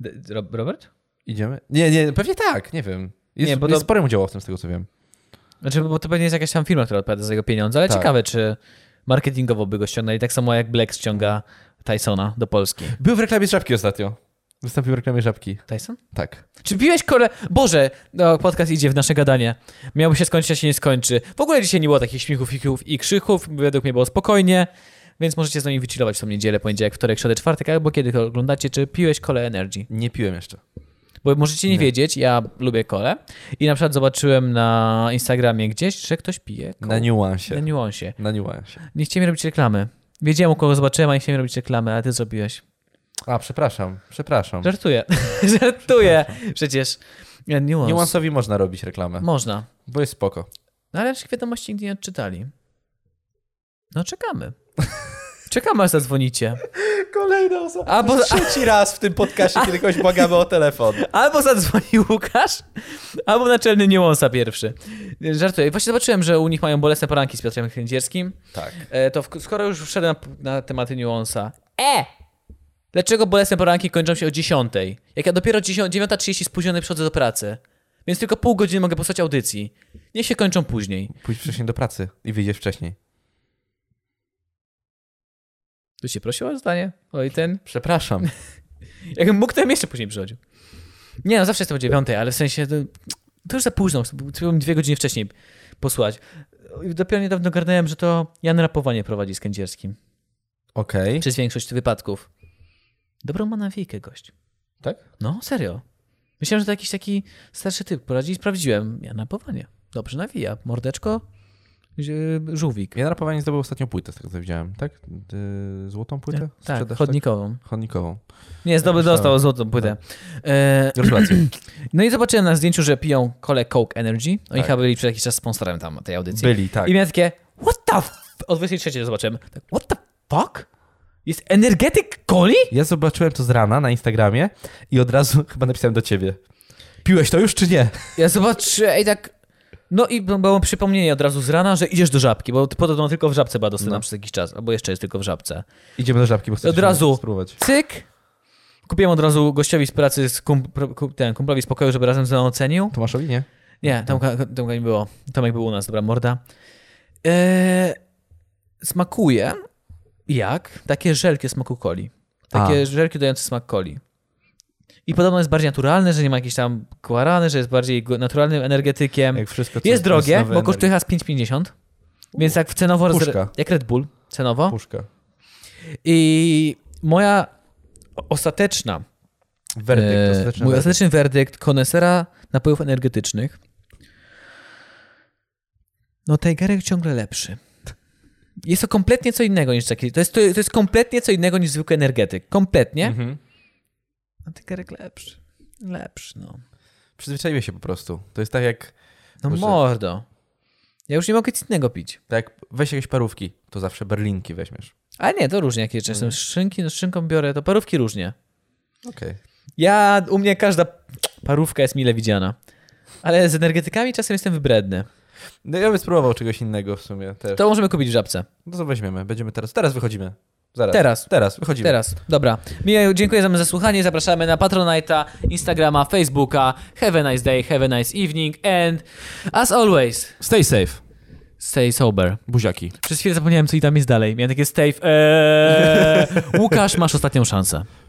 S2: D- Rob- Robert?
S1: Idziemy? Nie, nie, pewnie tak, nie wiem. Jest,
S2: Nie, bo
S1: jest
S2: to-
S1: sporym udziałowcem z tego co wiem.
S2: Znaczy, bo to pewnie jest jakaś tam firma, która odpowiada za jego pieniądze, ale
S1: Tak.
S2: ciekawe, czy marketingowo by go ściągnęli, tak samo jak Black ściąga Tysona do Polski.
S1: Był w reklamie żabki ostatnio. Wystąpił w reklamie żabki.
S2: Tyson?
S1: Tak.
S2: Czy piłeś kole... Boże, no, podcast idzie w nasze gadanie. Miałby się skończyć, a się nie skończy. W ogóle dzisiaj nie było takich śmichów, fików i krzyków. Według mnie było spokojnie, więc możecie z nami wychillować w tą niedzielę, poniedziałek, wtorek, środę, czwartek, albo kiedy to oglądacie, czy piłeś kole Energy.
S1: Nie piłem jeszcze.
S2: Bo możecie nie,
S1: Nie.
S2: wiedzieć, ja lubię kole i na przykład zobaczyłem na Instagramie gdzieś, że ktoś pije kole.
S1: Na niuansie.
S2: Na niuansie.
S1: Na niuansie.
S2: Nie chciałem robić reklamy. Wiedziałem, u kogo zobaczyłem, a nie chciałem robić reklamy, ale ty zrobiłeś.
S1: A, przepraszam, przepraszam.
S2: Żartuję. <laughs> Żartuję. Przecież e, niuans. niuans.
S1: Niuansowi można robić reklamę,
S2: Można.
S1: bo jest spoko.
S2: No ale naszych wiadomości nigdy nie odczytali. No <laughs> czekamy. Czekamy, aż zadzwonicie.
S1: Kolejna osoba.
S2: Albo,
S1: <laughs> Trzeci raz w tym podcaście, kiedy kogoś błagamy o telefon.
S2: albo zadzwoni Łukasz, albo naczelny Niłąsa pierwszy. Żartuję. Właśnie zobaczyłem, że u nich mają bolesne poranki z Piotrem Kędzierskim.
S1: Tak.
S2: E, to w, skoro już wszedłem na, na tematy Niłąsa. E! Dlaczego bolesne poranki kończą się o 10? Jak ja dopiero 10 9.30 spóźniony przychodzę do pracy. Więc tylko pół godziny mogę posłać audycji. Niech się kończą później.
S1: Pójdź wcześniej do pracy i wyjdziesz wcześniej.
S2: Tu cię prosiła o zdanie? Oj, ten
S1: Przepraszam.
S2: Jakbym mógł, to ja bym jeszcze później przychodził. Nie, no zawsze jestem o dziewiątej, ale w sensie to, to już za późno. Chciałbym dwie godziny wcześniej posłać. I Dopiero niedawno garnąłem, że to Jan Rapowanie prowadzi z Kędzierskim.
S1: Okej.
S2: Przez większość wypadków. Dobrą ma nawijkę gość.
S1: Tak?
S2: No, serio. Myślałem, że to jakiś taki starszy typ prowadzi i sprawdziłem. Jan Rapowanie. Dobrze nawija. Mordeczko, zi- żółwik.
S1: Ja na rapowanie zdobył ostatnią płytę, z tego co widziałem, tak? Yy, Złotą płytę?
S2: Tak,
S1: Sprzedaż,
S2: chodnikową.
S1: tak? Chodnikową.
S2: Nie, zdoby
S1: myślałem.
S2: dostał złotą płytę.
S1: Tak.
S2: E,
S1: <clears throat> Gratulacje.
S2: No i zobaczyłem na zdjęciu, że piją kole Coke Energy. Oni
S1: Tak.
S2: chyba byli przez jakiś czas sponsorem tam tej audycji.
S1: Byli, tak.
S2: I miałem takie, what the f... O 23 zobaczyłem. Tak, what the fuck? Jest energetyk coli?
S1: Ja zobaczyłem to z rana na Instagramie i od razu <laughs> chyba napisałem do ciebie. Piłeś to już czy nie?
S2: Ja zobaczyłem i tak... No i b- było przypomnienie od razu z rana, że idziesz do żabki, bo podobno tylko w żabce była dostępna
S1: No.
S2: przez jakiś czas, albo jeszcze jest tylko w żabce.
S1: Idziemy do żabki, bo chcę
S2: Od razu.
S1: spróbować.
S2: Cyk! Kupiłem od razu gościowi z pracy, z kum, pro- ku- ten, kumplowi z pokoju, żeby razem ze mną ocenił.
S1: Tomaszowi nie?
S2: Nie, Tomka, Tomka nie było. Tomek był u nas, dobra morda. Eee, smakuje jak takie żelkie smaku coli. Takie
S1: A.
S2: żelki dające smak coli. I podobno jest bardziej naturalny, że nie ma jakiejś tam guarany, że jest bardziej go- naturalnym energetykiem.
S1: Jak wszystko, co
S2: jest drogie,
S1: nowe
S2: bo
S1: energia.
S2: kosztuje aż 5,50. Więc tak cenowo... roz-
S1: Puszka.
S2: Jak Red Bull, cenowo.
S1: Puszka.
S2: I moja o- ostateczna,
S1: Werdykt,
S2: e,
S1: ostateczny
S2: mój
S1: werdykt.
S2: ostateczny werdykt konesera napojów energetycznych. No Tigerek ciągle lepszy. Jest to kompletnie co innego niż taki. To jest, to jest kompletnie co innego niż zwykły energetyk. Kompletnie.
S1: Mhm.
S2: A Tigerek lepszy. Lepszy, no.
S1: Przyzwyczaiłem się po prostu. To jest tak jak,
S2: No
S1: Boże.
S2: mordo. Ja już nie mogę nic innego pić.
S1: tak jak weź jakieś parówki, to zawsze berlinki weźmiesz.
S2: Ale nie, to różnie
S1: Mm.
S2: jakie często. Szynki, no z szynką biorę, to parówki różnie.
S1: Okej.
S2: Ja, u mnie każda parówka jest mile widziana. Ale z energetykami czasem jestem wybredny.
S1: No ja bym spróbował czegoś innego w sumie też.
S2: To możemy kupić w żabce.
S1: No to weźmiemy, będziemy teraz, teraz wychodzimy. Zaraz.
S2: Teraz.
S1: Teraz, wychodzimy.
S2: Teraz, dobra. Mijaju, dziękuję za zasłuchanie. Zapraszamy na Patronite'a, Instagrama, Facebooka. Have a nice day, have a nice evening and as always,
S1: Stay safe,
S2: stay sober.
S1: buziaki. <laughs>
S2: Przez chwilę zapomniałem, co i tam jest dalej. Miałem takie stay... Eee... Łukasz, masz ostatnią szansę.